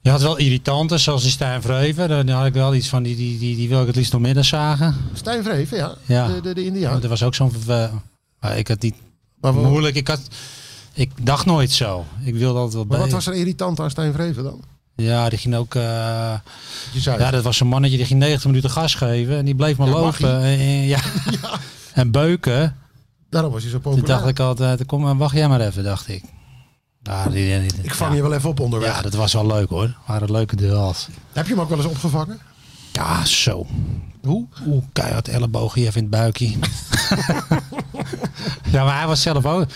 Je had wel irritanten, zoals die Stijn Vreven. Daar had ik wel iets van, die, die, die, die wil ik het liefst nog midden zagen. Stijn Vreven, ja. Ja. De, de, de Maar Indiaan. Er was ook zo'n... eh, maar ik had niet Maar we- moeilijk. Ik, had, ik dacht nooit zo. Ik wilde altijd wel Maar bij. wat was er irritant aan Stijn Vreven dan? Ja, die ging ook... eh, Je zei, Ja, dat was een mannetje die ging 90 minuten gas geven en die bleef maar Ja, mag lopen en, en- (laughs) ja. en beuken. daarom was je zo Toen populair. dacht ik altijd, kom maar, wacht jij maar even, dacht ik. Ja, die, die- die- ik vang ja. je wel even op onderweg. Ja, dat was wel leuk hoor. Waren leuke duels. Heb je hem ook wel eens opgevangen? Ja, zo. Hoe? Oeh, keihard elleboogje even in het buikje. (laughs) ja, maar hij was zelf ook...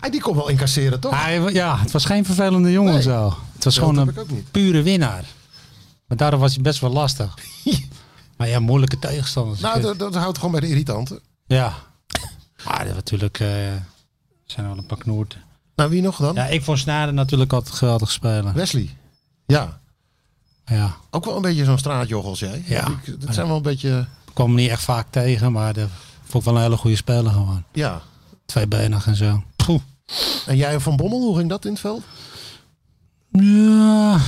Hij die kon wel incasseren, toch? Hij, ja, het was geen vervelende jongen Nee. zo. Het was Dat gewoon heb een ik ook niet. pure winnaar. Maar daarom was hij best wel (laughs) lastig. maar ja, moeilijke tegenstanders. nou, dat, dat houdt gewoon bij de irritanten. Ja. Maar dat natuurlijk eh, zijn er wel een paar knoerten. Nou, wie nog dan? Ja, ik vond Snaden natuurlijk altijd geweldig spelen. Wesley. Ja, Ja. ook wel een beetje zo'n straatjoch als jij. Ja. Ik- Dat zijn wel een beetje... Ik kwam hem niet echt vaak tegen, maar dat vond ik wel een hele goede speler gewoon. Ja. Tweebenig en zo. Poeh. En jij en Van Bommel, hoe ging dat in het veld? Ja.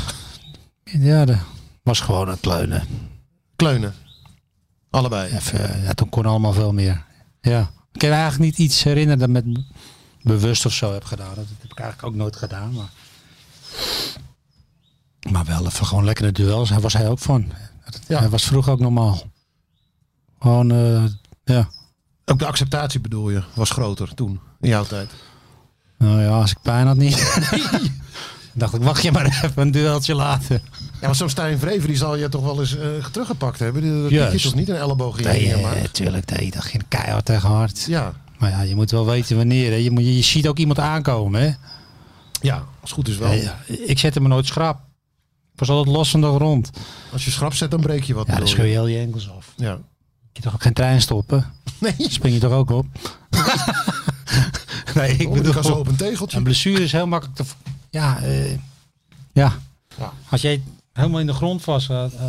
Ja, dat was gewoon een kleunen. Kleunen. Allebei. Even, eh, ja, toen kon allemaal veel meer. Ja. Ik kan me eigenlijk niet iets herinneren dat ik met bewust of zo heb gedaan. Dat heb ik eigenlijk ook nooit gedaan. Maar... Maar wel even gewoon lekkere duels. Daar was hij ook van. Ja. Hij was vroeger ook normaal. Gewoon, eh, ja. Ook de acceptatie bedoel je, was groter toen, in jouw tijd. Nou ja, als ik pijn had niet. (laughs) dacht ik, wacht je maar even een dueltje later. Ja, maar zo'n Stijn Vrever, die zal je toch wel eens eh, teruggepakt hebben. Die- Dat Juist. je toch niet een elleboog in je Nee, neer eh, maakt? tuurlijk. Nee, dat ging keihard tegen hard. Ja, Maar ja, je moet wel weten wanneer. Hè. Je, moet, je ziet ook iemand aankomen. Hè. ja, als het goed is wel. Ja, ja. Ik zette me nooit schrap. Ik was altijd los van de grond. Als je schrap zet, dan breek je wat. Ja, dan bedoel scheur je. je heel je enkels af. Ja. Oh, Je toch ook geen trein stoppen? Nee, Spring je toch ook (laughs) op? nee, Oh, ik ik bedoel, bedoel... kan zo op een Een tegeltje. blessure is heel makkelijk te. v- Ja, eh, ja. Ja. Als jij helemaal in de grond vast gaat, eh,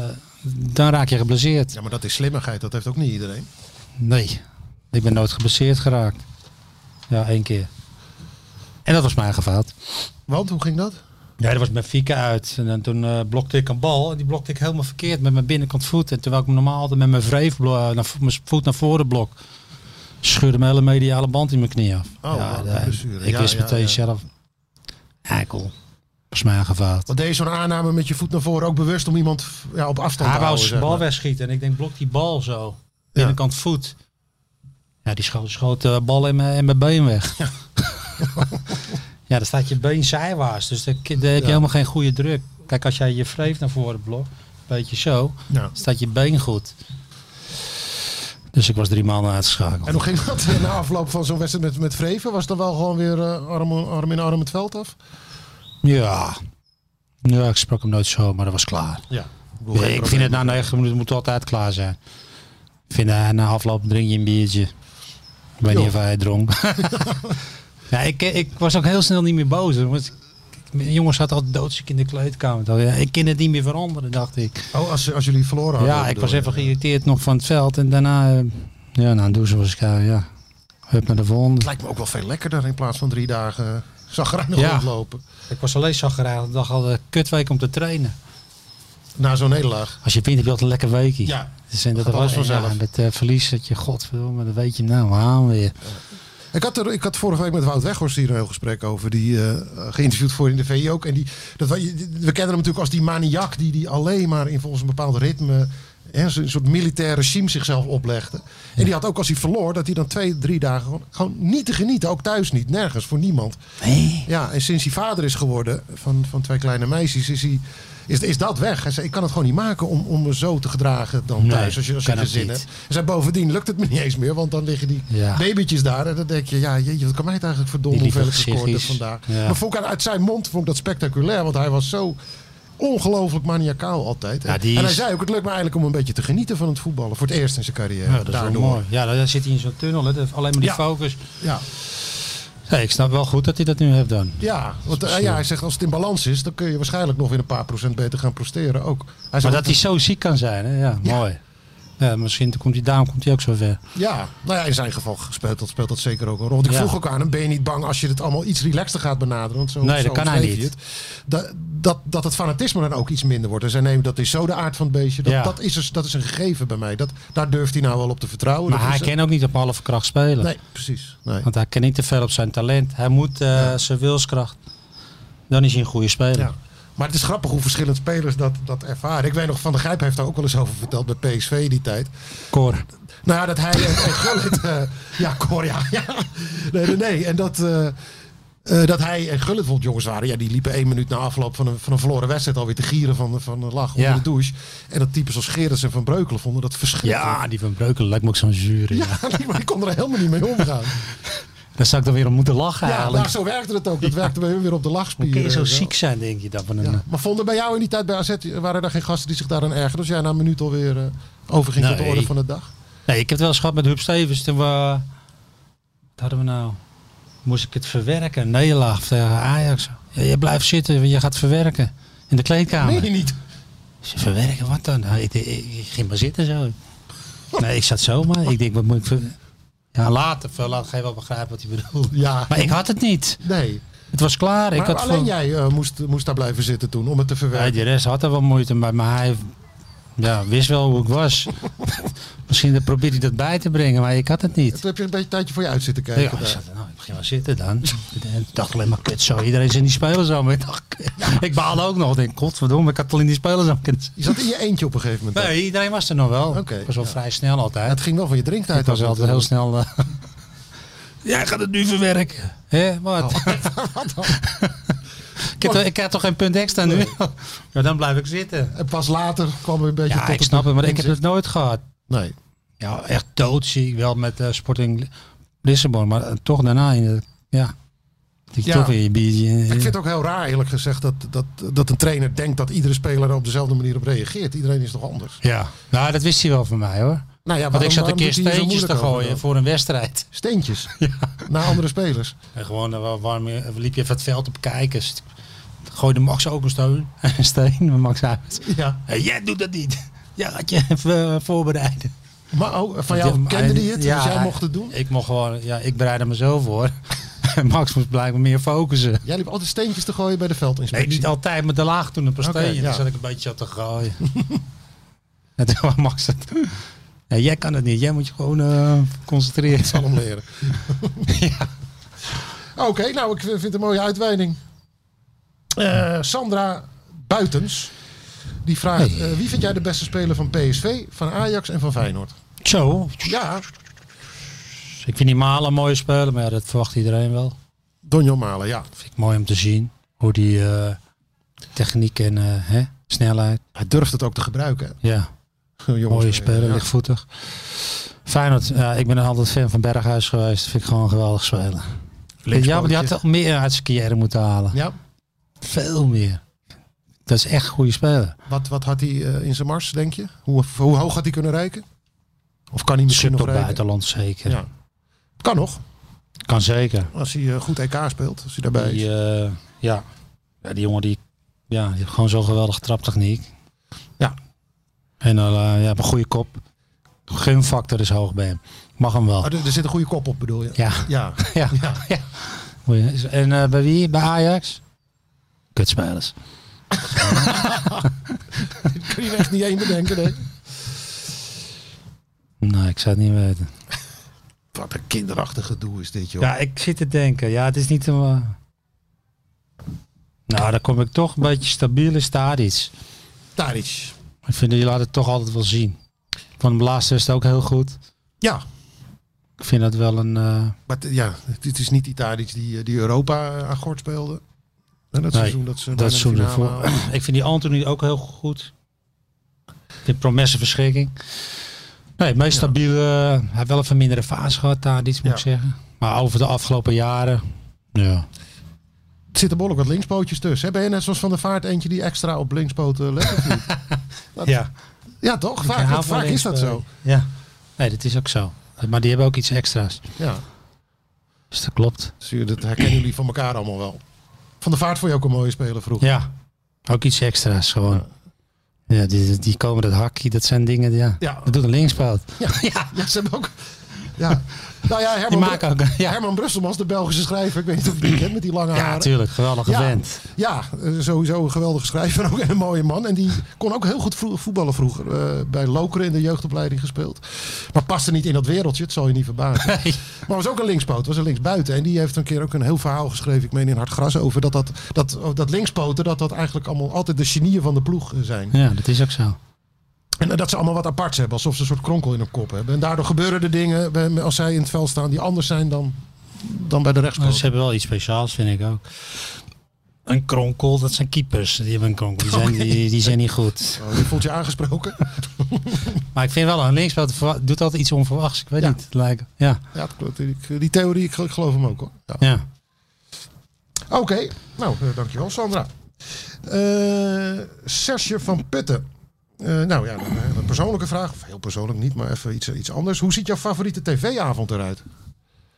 dan raak je geblesseerd. Ja, maar dat is slimmigheid, dat heeft ook niet iedereen. Nee, ik ben nooit geblesseerd geraakt. Ja, één keer. En dat was mijn gevaat. Want, hoe ging dat? Ja, dat was met Fika uit. En dan, toen eh, blokte ik een bal. En die blokte ik helemaal verkeerd met mijn binnenkant voet. En terwijl ik hem normaal altijd met mijn wreef, blo- eh, naar vo- mijn voet naar voren blok. Scheurde mijn hele mediale band in mijn knie af. Oh, wat een daar- blessure. ik Ja, wist ja, meteen ja. zelf. Eikel. Dat was mijn gevaat. Want deed je zo'n aanname met je voet naar voren ook bewust om iemand ja, op afstand Hij te wou houden? zijn zeg bal maar. wegschieten en ik denk blok die bal zo. Binnenkant voet. Ja, die schoot, schoot de bal in mijn, in mijn been weg. (laughs) Ja. dan staat je been zijwaarts. Dus daar k- daar heb je Ja. helemaal geen goede druk. Kijk, als jij je vreef naar voren blokt, een beetje zo, Ja. staat je been goed. Dus ik was drie maanden uitgeschakeld. En hoe ging dat (laughs) na afloop van zo'n wedstrijd met, met Vreven? Was dan wel gewoon weer eh, arm, arm in arm het veld af? Ja. ja, ik sprak hem nooit zo, maar dat was klaar. Ja. Ja, ik vind het nou na 9 minuten moet het altijd klaar zijn. Ik vind eh, na afloop drink je een biertje. Ik weet Jo. niet of hij het (laughs) dronk. ja, ik, eh, ik was ook heel snel niet meer boos. Want ik- de jongens zaten altijd doodziek in de kleedkamer. Ja, ik kon het niet meer veranderen, dacht ik. Oh, als, als jullie verloren hadden. ja, ik bedoel eh, was je. even geïrriteerd nog van het veld. En daarna, eh, ja, na een douche was ik, eh, ja, hup naar de volgende. Het lijkt me ook wel veel lekkerder in plaats van drie dagen eh, zagrijnig Ja. rondlopen. Ik was alleen zagrijnig. Ik dacht al, eh, kutweek om te trainen. Na zo'n nederlaag. Als je wint heb je altijd een lekker weekje. Ja, Dus en dat gaat alles was vanzelf. vanzelf. Ja, en met eh, verlies dat je, godverdomme, dat weet je nou, aan weer. Ik had, er, ik had vorige week met Wout Weghorst hier een heel gesprek over. Die eh, geïnterviewd voor in de VI ook. En die, dat, we kennen hem natuurlijk als die maniak die, die alleen maar in volgens een bepaald ritme... Hè, zo- een soort militair regime zichzelf oplegde. En die had ook als hij verloor dat hij dan twee, drie dagen gewoon, gewoon niet te genieten. Ook thuis niet, nergens, voor niemand. Ja, en sinds hij vader is geworden van, van twee kleine meisjes, is, hij, is, is dat weg. Hij zei, ik kan het gewoon niet maken om, om me zo te gedragen dan Nee, thuis, als je, als je kan geen ook zin niet. hebt. Hij zei, bovendien lukt het me niet eens meer, want dan liggen die Ja. babytjes daar. En dan denk je, ja, jeetje, wat kan mij het eigenlijk verdomme Die lieve hoeveel ik gescoord heb gezichtjes. vandaag. Ja. Maar vond ik, uit zijn mond vond ik dat spectaculair, want hij was zo ongelooflijk maniacaal altijd. Ja, die En hij is- zei ook, het lukt me eigenlijk om een beetje te genieten van het voetballen. Voor het eerst in zijn carrière. Dus Ja, dat is wel mooi. Ja, daar zit hij in zo'n tunnel, hè. dat- alleen maar die Ja. focus. Ja, Hey, ik snap wel goed dat hij dat dus nu heeft dan. Ja, want eh, ja, hij zegt als het in balans is, dan kun je waarschijnlijk nog weer een paar procent beter gaan presteren ook. Hij Maar zegt dat hij zo ziek kan zijn, hè? ja, mooi. Ja, misschien komt hij, daarom komt hij ook zo ver. Ja, nou ja, in zijn geval speelt dat, speelt dat zeker ook een rol. Want ik Ja. vroeg ook aan hem, ben je niet bang als je het allemaal iets relaxter gaat benaderen? Want zo, Nee, dat zo kan hij omschreef niet. je het. Dat, dat, dat het fanatisme dan ook iets minder wordt. En zij nemen dat is zo de aard van het beestje. Dat, Ja. dat, is, een- dat is een gegeven bij mij. Dat, daar durft hij nou wel op te vertrouwen. Maar Dat hij is, eh, kan ook niet op halve kracht spelen. Nee, precies. Nee. Want hij kan niet te ver op zijn talent. Hij moet eh, zijn wilskracht. Dan is hij een goede speler. Ja. Maar het is grappig hoe verschillende spelers dat, dat ervaren. Ik weet nog, Van der Grijp heeft daar ook wel eens over verteld bij PSV die tijd. Cor. Nou ja, dat hij en, en Gullit... eh, (laughs) ja, Cor, ja, ja. Nee, nee, nee. En dat, eh, eh, dat hij en Gullit vond jongens waren... Ja, die liepen één minuut na afloop van een, van een verloren wedstrijd... alweer te gieren van, van een lach onder Ja. de douche. En dat types als Gerrits en Van Breukelen vonden dat verschrikkelijk. Ja, die van Breukelen lijkt me ook zo'n zure. Ja. Ja, (laughs) maar ik kon er helemaal niet mee omgaan. Daar zou ik dan weer om moeten lachen Ja, eigenlijk. daar zo werkte het ook. Dat werkte bij hun weer op de lachspieren. Kun je zo en zo. ziek zijn, denk je, dat van een... Ja. Maar vonden bij jou in die tijd bij AZ... waren er geen gasten die zich daaraan ergerden? Dus jij na een minuut alweer eh overging tot de Nee. orde van de dag? Nee, ik heb het wel eens gehad met Huub Stevens. Toen we, wat hadden we nou? Moest ik het verwerken? Nederlaag tegen Ajax. Ja, je blijft zitten, want je gaat verwerken. In de kleedkamer. Nee, niet. Ik zei, Verwerken, wat dan? Nou, ik, ik, ik ging maar zitten zo. Nee, ik zat zomaar. Ik denk, wat moet ik... ver- Ja, later, veel later ga je wel begrijpen wat hij bedoelt. Ja. Maar ik had het niet. Nee. Het was klaar. ik Maar had alleen van- jij eh, moest, moest daar blijven zitten toen om het te Ja, verwerken. de rest had er wel moeite mee, maar hij ja, wist wel hoe ik (laughs) was. Misschien probeerde hij dat bij te brengen, maar ik had het niet. Toen heb je een beetje tijdje voor je uit zitten kijken. Ja, ik daar. zat, nou, ik je maar zitten dan. ik dacht alleen maar, kut zo, iedereen zit in die spelers aan. Ik, dacht, ik baalde ook nog. Ik denk, godverdomme, ik had al in die spelers aan kunnen zitten. Je zat in je eentje op een gegeven moment. Nee, iedereen was er nog wel. Oké, Het was wel ja. vrij snel Ja, altijd. het ging wel van je drinktijd. Het was af altijd heel natuurlijk. snel. eh, (laughs) Jij gaat het nu verwerken. Hé, (laughs) wat? Oh. ik, heb, toch- ik heb toch geen punt extra nu? ja, dan blijf ik zitten. En pas later kwam er een beetje Ja, tot ik snap het, maar ik heb inzicht. het nooit gehad. Nee. Ja, echt doodziek wel met eh, Sporting Li- Lissabon, maar eh, toch daarna in de, ja. Die Ja. toch weer je biertje. Ik vind het ook heel raar eerlijk gezegd dat, dat, dat een trainer denkt dat iedere speler er op dezelfde manier op reageert. Iedereen is toch anders? Ja, nou dat wist hij wel van mij hoor. Nou ja, Want waarom- ik zat een waarom keer doet hij hier zo steentjes te moeilijk over gooien dan? voor een wedstrijd. (laughs) Steentjes naar andere spelers. En gewoon eh, waar- warm, eh, liep je even het veld op kijken. St- Gooide Max ook een steun. (laughs) Een steen, Max uit. Ja. Hé, jij doet dat niet. Ja, had je even eh, voorbereiden. Maar oh, van jou Ja, kende die het, ja, dus jij mocht het doen? Ik mocht gewoon, ja, ik bereidde mezelf voor. (laughs) Max moest blijkbaar meer focussen. Jij liep altijd steentjes te gooien bij de Nee, veldinspectie. niet altijd, maar de laag toen een pasteetje. Oké, en ja. Toen zat ik een beetje op te gooien. (laughs) en toen kwam Max het. Nee, jij kan het niet. Jij moet je gewoon eh, concentreren. zal hem (laughs) leren. Oké, nou, ik vind het een mooie uitweiding. Eh, Sandra Buitens, die vraagt... eh, wie vind jij de beste speler van PSV, van Ajax en van Feyenoord? Zo. Ja, Ik vind die Malen een mooie speler, maar ja, dat verwacht iedereen wel. Donjon Malen, ja. Vind ik mooi om te zien. Hoe die eh, techniek en eh, hè, snelheid. Hij durft het ook te gebruiken. hè. Ja, Een jonge mooie speler, ja. lichtvoetig. Feyenoord, ja, ik ben altijd fan van Berghuis geweest. Vind ik gewoon een geweldig speler. Ja, maar die had al meer uit zijn carrière moeten halen. Ja, Veel meer. Dat is echt een goede speler. wat, wat had hij eh, in zijn mars, denk je? Hoe, hoe hoog had hij kunnen reiken? Of kan hij misschien Sub nog tot reiken? buitenland zeker. Ja. Kan nog, Kan zeker. als hij eh, goed EK speelt. Als hij daarbij is. Die, eh, ja. ja, die jongen die, ja, die heeft gewoon zo'n geweldige traptechniek. Ja. En dan, eh, ja, een goede kop. Gunfactor is hoog bij hem. Mag hem wel. Ah, er, er zit een goede kop op, bedoel je? Ja. (laughs) Ja, Ja. Ja. Oh. ja. Goeie. En eh, bij wie? Bij Ajax? Kutspelers. (laughs) kun je er echt niet één bedenken, nee. Nou, ik zou het niet weten. Wat een kinderachtig gedoe is dit, joh. Ja, ik zit te denken. Ja, het is niet een... eh, Nou, dan kom ik toch een beetje stabiel in Stadic. Tadic. Ik vind dat je laat het toch altijd wel zien. Van de laatste is het ook heel goed. Ja, Ik vind dat wel een. eh, maar t- ja, dit is niet die Tadic die, eh, die Europa eh, akkoord speelde. En dat Nee, seizoen dat ze bijna dat de zoen finale ervoor. haalden. (clears throat) Ik vind die Anthony ook heel goed. De promesse verschrikking. Nee, het meest Ja. stabiele. eh, hij heeft wel even mindere fase gehad daar, iets Ja. moet ik zeggen. Maar over de afgelopen jaren. Ja. Er zitten behoorlijk wat linkspootjes tussen. hè? Ben je net zoals Van der Vaart eentje die extra op (laughs) linkspoten let? of niet? ja. ja, toch? Ik Vaak, hou van vaak is dat zo. linkspoot. eh, Ja. Nee, dat is ook zo. Maar die hebben ook iets extra's. Ja. Dus dat klopt. Dus jullie- dat herkennen jullie van elkaar allemaal wel. Van der Vaart vond je ook een mooie speler vroeger. Ja. Ook iets extra's gewoon. Ja, die, die komen dat hakje, dat zijn dingen. die- Ja. Ja. Dat doet een linkspoot. ja. (laughs) Ja, ze hebben ook... Ja. Nou ja, Die Herman, maken ook. Bru- Ja, Herman Brusselmans, de Belgische schrijver. Ik weet niet of je die kent met die lange ja haren. tuurlijk. Geweldige Ja. vent. Ja, eh, sowieso een geweldige schrijver (laughs) ook en een mooie man. En die kon ook heel goed vro- voetballen vroeger. Eh, bij Lokeren in de jeugdopleiding gespeeld. Maar paste niet in dat wereldje, het zal je niet verbazen. (laughs) Nee. Maar was ook een linkspoot, was een linksbuiten. En die heeft een keer ook een heel verhaal geschreven, ik meen in Hard Gras, over dat, dat, dat, oh, dat linkspoten, dat dat eigenlijk allemaal altijd de genieën van de ploeg eh, zijn. (laughs) Ja, dat is ook zo. En eh, dat ze allemaal wat aparts hebben, alsof ze een soort kronkel in hun kop hebben. En daardoor gebeuren er dingen bij- als zij in het veld staan die anders zijn dan, dan bij de Maar Dus ze rechtspoot. hebben wel iets speciaals, vind ik ook. Een kronkel, dat zijn keepers. Die hebben een kronkel. Die zijn, die, die zijn niet goed. Oh, je voelt je aangesproken. Maar ik vind wel, een linksveld verwa- doet altijd iets onverwachts. Ik weet Ja. niet. Het lijkt, ja, Ja, het klopt. Ik- die theorie, ik ik geloof hem ook hoor. Ja. ja. Oké, nou, eh, dankjewel Sandra. Eh Serge van Putten. Eh, nou ja, dan, eh, een persoonlijke vraag. Of heel persoonlijk niet, maar even iets, iets anders. Hoe ziet jouw favoriete tv-avond eruit?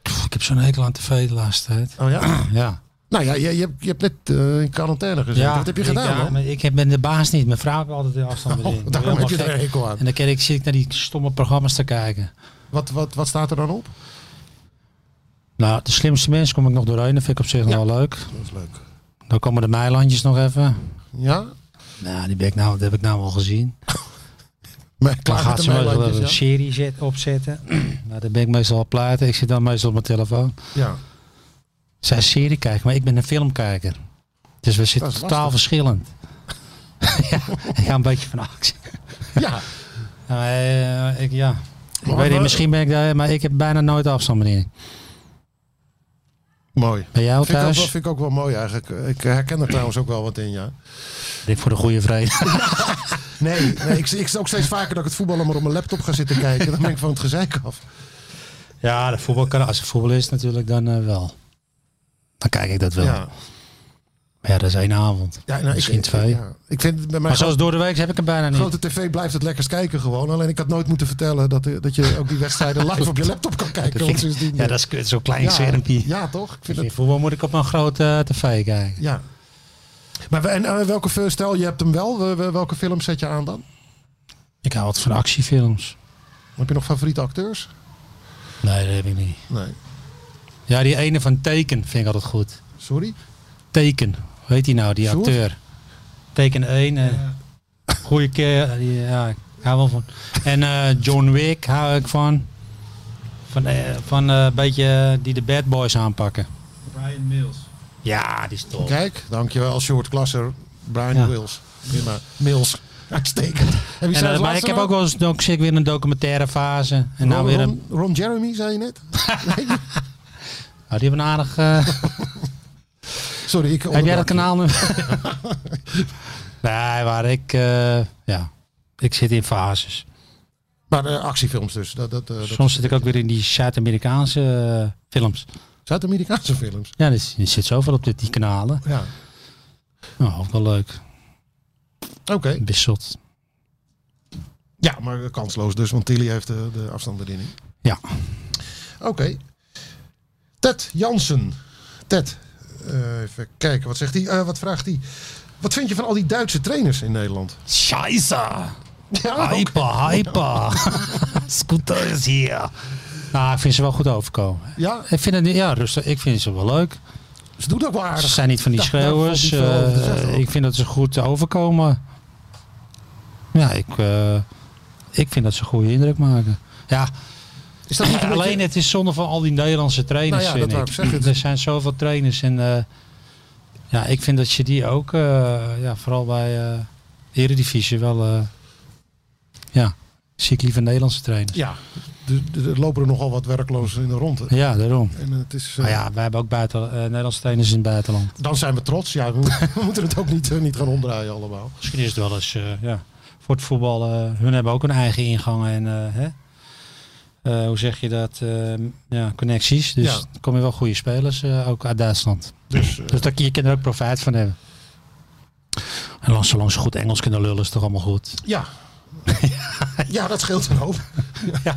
Pff, ik heb zo'n hekel aan tv de laatste tijd. Oh ja? Ja. Nou ja, je, je, hebt, je hebt net eh, in quarantaine gezeten. Wat heb je ik- gedaan ja, man? maar ik heb- ben de baas niet. Mijn vrouw heeft altijd de (laughs) afstand Oh, bezien. Ik ben daarom heb je helemaal er een gek. hekel aan. En dan kijk ik, zit ik naar die stomme programma's te kijken. Wat, wat, wat staat er dan op? Nou, de slimste mensen kom ik nog doorheen. Dat vind ik op zich nog wel leuk. Dat is leuk. Dan komen de Meilandjes nog even. Ja? Nou, die, ben ik nou, dat heb ik nou al gezien. Maar Dan klaar met gaat de dus, ze eh, meestal Meilandjes, even een (clears throat) (laughs) serie zet, opzetten. nou, dan ben ik meestal al platen. Ik zit dan meestal op mijn telefoon. ja? Ja. Zij is seriekijker, maar ik ben een filmkijker. Dus we zitten Dat is totaal lastig. verschillend. (laughs) ja, ik ga een beetje van actie. Ja, Nou, eh, ik, ja. Ik Maar weet niet, we- misschien ben ik daar, maar ik heb bijna nooit afstand, meneer. mooi. Ben jij al Vind ik, ook wel, thuis? vind ik ook wel mooi eigenlijk. Ik herken er trouwens ook wel wat in, ja. Dit voor de goede vrede. Nee, nee ik, ik ook steeds vaker dat ik het voetballen maar op mijn laptop ga zitten kijken. Dan ben ik van het gezeik af. ja, de voetbal kan, als het voetbal is natuurlijk, dan eh, wel. Dan kijk ik dat wel. Ja, Maar ja, dat is één avond. ja nou, misschien ik, ik- twee. ja. Ik vind het bij mij Maar zoals door de week heb ik hem bijna niet. Grote tv blijft het lekkerst kijken gewoon. Alleen ik had nooit moeten vertellen dat, eh, dat je ook die wedstrijden live op je laptop kan kijken. Dat want vind ik- sindsdien- eh, ja, dat is kut, zo'n klein Ja, schermpje. Ja, toch? Ik vind In het, voetbal moet ik op een grote eh, tv kijken. ja. Maar we- en, eh, welke, film- stel je hebt hem wel, we- we- welke film zet je aan dan? Ik hou wat van actiefilms. Heb je nog favoriete acteurs? Nee, dat heb ik niet. Nee. Ja, die ene van Teken vind ik altijd goed. Sorry? Teken, hoe heet die nou, die Sjoerd? acteur? Teken 1, eh goeie keer. eh, die, ja, ik hou wel van. En eh, John Wick hou ik van. Van eh, van eh, een beetje eh, die de bad boys aanpakken. Brian Mills. Ja, die is top. Kijk, dankjewel, Short Klasser. Brian Ja. Wills. Prima. Mills. Uitstekend. Heb je En, zelfs eh, maar laatst ik heb nou- ook wel eens, ik zit weer in een documentaire fase. En nou Ron, weer een, Ron, Ron Jeremy, zei je (laughs) net? oh, die hebben een (laughs) aardig... eh, Sorry, ik Heb jij onderbrak dat je. kanaal (laughs) nu? nee, maar ik, eh, ja, ik zit in fases. Maar eh, actiefilms dus. Dat, dat, eh, dat- Soms zit ik ook weer in die Zuid-Amerikaanse eh, films. Zuid-Amerikaanse films. Ja, er is- er zit zoveel op dit, die kanalen. Ja. Nou, ook wel leuk. Oké. Bissot. Ja, maar kansloos dus, want Tilly heeft de, de afstandsbediening. Ja. Oké. Ted Jansen. Ted, eh, even kijken, wat zegt hij? Eh, wat vraagt hij? Wat vind je van al die Duitse trainers in Nederland? (laughs) Scheisse! Ah, Ja, ook. Hyper, hyper. (laughs) Scooter is hier. Nou, ik vind ze wel goed overkomen. ja Ik vind, het, niet- ja, rustig, ik vind ze wel leuk. ze doen dat wel Ze aardig. nou, zijn niet van die Daar- daar valt niet schreeuwers. veel over te eh, zeggen, hoor. ik vind dat ze goed overkomen. Ja, ik, eh, ik vind dat ze een goede indruk maken. Ja, Is dat niet een alleen beetje- het is zonde van al die Nederlandse trainers. Nou ja, dat vind wou ik zeggen. Er zijn zoveel trainers. En eh, ja, ik vind dat je die ook, eh, ja, vooral bij eh Eredivisie, wel. eh, ja, zie ik liever Nederlandse trainers. Ja, er- er- er lopen er nogal wat werklozen in de rondte. Ja, daarom. En het is, eh, Maar ja, wij hebben ook buiten, eh, Nederlandse trainers in het buitenland. Dan zijn we trots. Ja, we, (laughs) we moeten het ook niet, eh, niet gaan omdraaien allemaal. Misschien is het wel eens eh, ja, voor het voetbal. eh, hun hebben ook een eigen ingang en eh, hè? Eh, hoe zeg je dat? eh, ja, connecties. Dus Ja. dan kom je wel goede spelers, eh, ook uit Duitsland. Dus eh, Dus dat, je kan er ook profijt van hebben. En lang- zolang ze goed Engels kunnen lullen, is toch allemaal goed. (laughs) Ja. ja, dat scheelt een hoop. ja.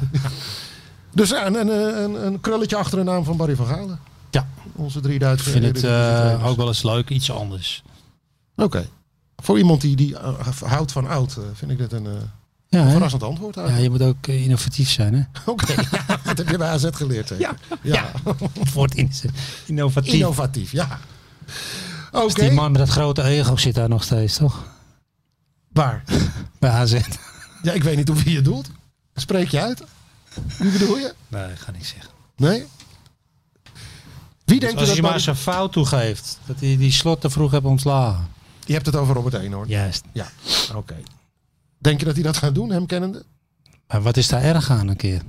Dus ja, een, een, een, een krulletje achter de naam van Barry van Galen. Ja. Onze drie Duitse Ik vind het Eredivisie eh, trainers. ook wel eens leuk, iets anders. Oké. Voor iemand die, die eh, houdt van oud, eh, vind ik dit een eh, Ja, hè? verrassend antwoord ja, eigenlijk. je moet ook eh, innovatief zijn, hè? (laughs) Oké, ja, dat heb je bij AZ geleerd zeker? Ja. (laughs) Het woord in- innovatief. Innovatief, ja. Oké, Dus Die man met dat grote ego zit daar nog steeds, toch? waar? (laughs) Bij AZ. Ja, ik weet niet op wie je doelt. Spreek je uit? Wie bedoel je? Nee, ik ga niet zeggen. Nee? Wie denkt u Dus Als dat je maar Barry... zijn fout toegeeft, dat hij die slot te vroeg heeft ontslagen. Je hebt het over Robert Eenhoorn. Juist. Ja, oké. Denk je dat hij dat gaat doen, hem kennende? Maar wat is daar erg aan een keer?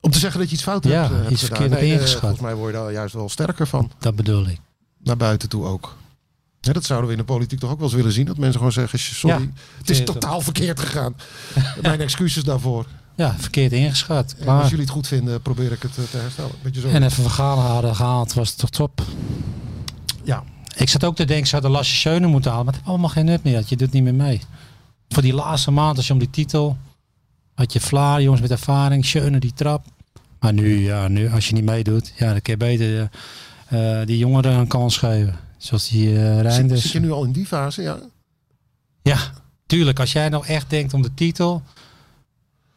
Om te zeggen dat je iets fout Ja, hebt, eh, hebt iets gedaan. verkeerd Nee, eh, ingeschat. Volgens mij word je daar juist wel sterker van. Dat bedoel ik. Naar buiten toe ook. Hè, dat zouden we in de politiek toch ook wel eens willen zien. Dat mensen gewoon zeggen, sorry, Ja, het is vind je totaal verkeerd (laughs) gegaan. Mijn excuses daarvoor. Ja, verkeerd ingeschat. En als Klaar. jullie het goed vinden, probeer ik het eh, te herstellen. Beetje zo. En even vergalen hadden gehaald, was het toch top. ja. Ik zat ook te denken, ze hadden Lasse Schöne moeten halen. Maar het heeft allemaal geen nut meer. had. Je doet niet meer mee. Voor die laatste maand, als je om die titel... Had je Vlaar, jongens met ervaring. Schöne die trap. Maar nu, ja, nu, als je niet meedoet... Ja, dan kun je beter eh, eh, die jongeren een kans geven. Zoals die eh Zit, Reinders. zit je nu al in die fase? Ja. Ja, tuurlijk. Als jij nou echt denkt om de titel,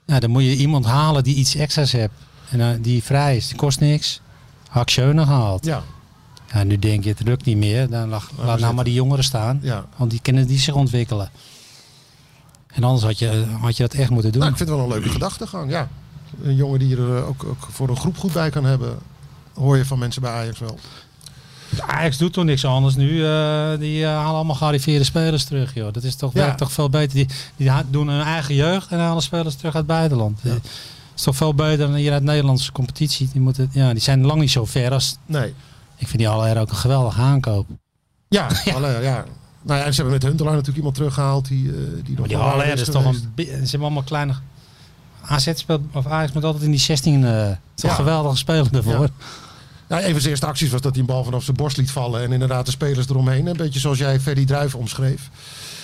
ja, dan moet je iemand halen die iets extra's hebt. En eh, die vrij is, die kost niks. Hak Schöne gehaald. Ja, Ja, nu denk je, het lukt niet meer. Dan lag, laat nou zitten. maar die jongeren staan. ja. Want die kunnen die zich ontwikkelen. En anders had je, eh, had je dat echt moeten doen. Nou, ik vind het wel een leuke gedachtegang. Ja. Een jongen die er eh, ook, ook voor een groep goed bij kan hebben. hoor je van mensen bij Ajax wel. Ajax doet toch niks anders nu. eh, die eh, halen allemaal gearriveerde spelers terug, joh. Dat is toch, Ja. werkt toch veel beter. Die, die ha- doen hun eigen jeugd en halen spelers terug uit het buitenland. Eh, is toch veel beter dan hier uit de Nederlandse competitie. Die, moeten, ja, die zijn lang niet zo ver als... Nee. Ik vind die Aller ook een geweldige aankoop. (laughs) Ja, Haller, ja. Nou ja, en ze hebben met Huntelaar natuurlijk iemand teruggehaald die, eh, die nog Maar die wel Aller aardig is toch geweest. een... bi- Ze hebben allemaal kleine... AZ speelt, of Ajax moet altijd in die 16... eh het is toch Ja. geweldige speler daarvoor. Nou, een van zijn eerste acties was dat hij een bal vanaf zijn borst liet vallen. En inderdaad de spelers eromheen. Een beetje zoals jij Ferdy Druijf omschreef.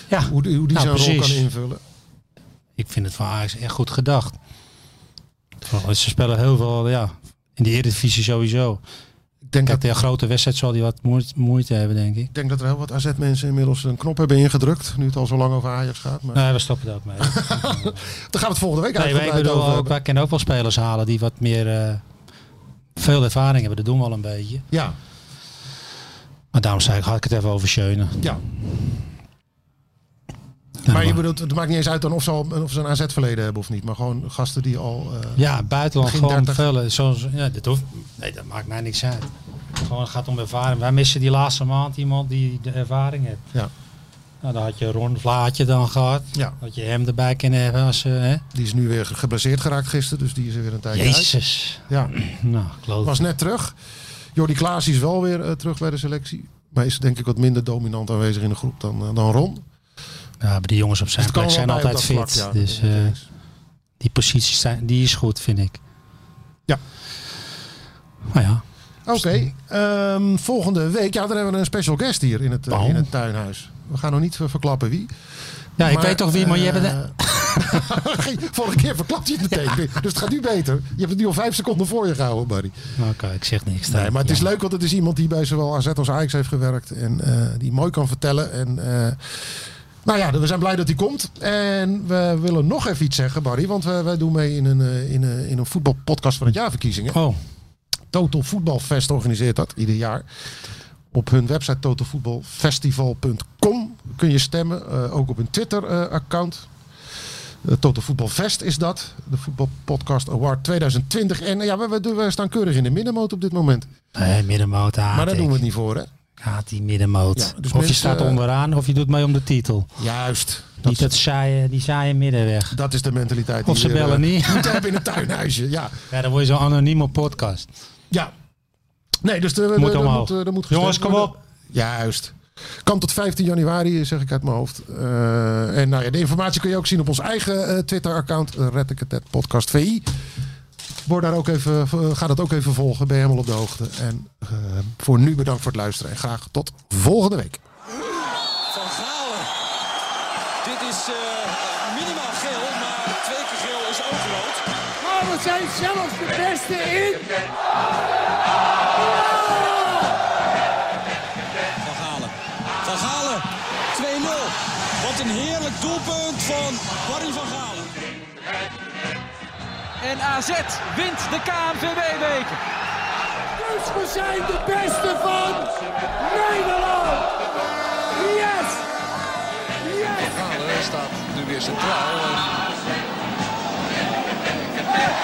Ja. Hoe, die- hoe die Nou, zijn rol precies. kan invullen. Ik vind het van Ajax echt goed gedacht. Vooral, Ze spelen heel veel, ja, in de Eredivisie sowieso. Ik denk, Kijk, dat, de grote wedstrijd zal die wat moeite, moeite hebben, denk ik. ik denk dat er heel wat AZ-mensen inmiddels een knop hebben ingedrukt. Nu het al zo lang over Ajax gaat. Maar Nee, we stoppen er (laughs) ook mee. daar gaan we het volgende week nee, wij, uitgebreid ik bedoel, over ook, hebben. wij kunnen ook wel spelers halen die wat meer eh, veel ervaring hebben. Dat doen we al een beetje. Ja, Maar daarom zei ik, had ik het even over Schöne. ja. Ja, maar je maar- bedoelt, het maakt niet eens uit dan of ze, al, of ze een AZ-verleden hebben of niet. Maar gewoon gasten die al... eh, Ja, buitenland Begin gewoon 30. vullen. Zoals, ja, dat hoeft, nee, dat maakt mij niks uit. Gewoon, het gaat om ervaring. Wij missen die laatste maand iemand die de ervaring heeft. Ja. Nou, dan had je Ron Vlaatje dan gehad. ja, Dat je hem erbij kunnen hebben als... eh, hè? die is nu weer geblesseerd geraakt gisteren. Dus die is er weer een tijdje uit. Jezus. (clears throat) Ja. Nou, ik geloof Was net terug. Jordi Klaas is wel weer eh, terug bij de selectie. Maar is denk ik wat minder dominant aanwezig in de groep dan, eh, dan Ron. Ja, maar die jongens op zijn het kan plek wel zijn bij op altijd fit. dat vlak, ja. Dus eh, die positie zijn, die is goed, vind ik. Ja. Maar ja, Oké, ehm, volgende week. Ja, dan hebben we een special guest hier in het, eh, Oh. in het tuinhuis. We gaan nog niet eh, verklappen wie. ja ik weet toch wie, maar je hebt eh, het... (laughs) hebt Vorige keer verklapt je het meteen. Dus het gaat nu beter. Je hebt het nu al vijf seconden voor je gehouden, Barry. Nou, Oké, ik zeg niks. Nee, dan. maar het is Ja. leuk, want het is iemand die bij zowel AZ als Ajax heeft gewerkt. En eh, die mooi kan vertellen. En eh, nou ja, we zijn blij dat hij komt. En we willen nog even iets zeggen, Barry. Want wij, wij doen mee in een, eh, in, een, in een voetbalpodcast van het jaarverkiezingen. Oh, Total Voetbal Fest organiseert dat ieder jaar. Op hun website totalvoetbalfestival.com kun je stemmen. eh, ook op hun Twitter-account. Total Voetbal Fest is dat. De Voetbal Podcast Award 2020. En eh, ja, we, we, doen- we staan keurig in de middenmoot op dit moment. nee, middenmoot haat maar daar ik. doen we het niet voor, hè? Haat die middenmoot. Ja, dus of je mensen, staat eh, onderaan of je doet mee om de titel. Juist. niet dat saaie, die saaie middenweg. dat is de mentaliteit. Of ze hier, eh, bellen niet. Moet hebben in het tuinhuisje, ja. Ja, dan word je zo'n anonieme podcast. ja. Nee, dus er Moet er- er omhoog. moet, eh, er moet gestemd Jongens, kom worden. op. Juist. Kan tot 15 januari, zeg ik uit mijn hoofd. Eh, en nou ja, de informatie kun je ook zien op ons eigen eh, Twitter-account. Uh, Red ik het, het podcast VI. Word daar ook even, eh, ga dat ook even volgen. Ben je helemaal op de hoogte. En eh, voor nu bedankt voor het luisteren. En graag tot volgende week. Van Galen. Dit is eh, minimaal geel, maar twee keer geel is ook rood. Maar we zijn zelfs de beste in. Ah! Van Galen. Van Galen. 2-0. Wat een heerlijk doelpunt van Barry van Galen. En AZ wint de KNVB-beker. Dus we zijn de beste van Nederland. Yes. Yes. Galen staat nu weer centraal.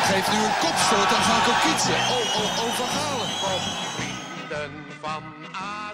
Geeft nu een kopstoot aan Gago Kietsen. Oh, oh, oh, Van Galen. Van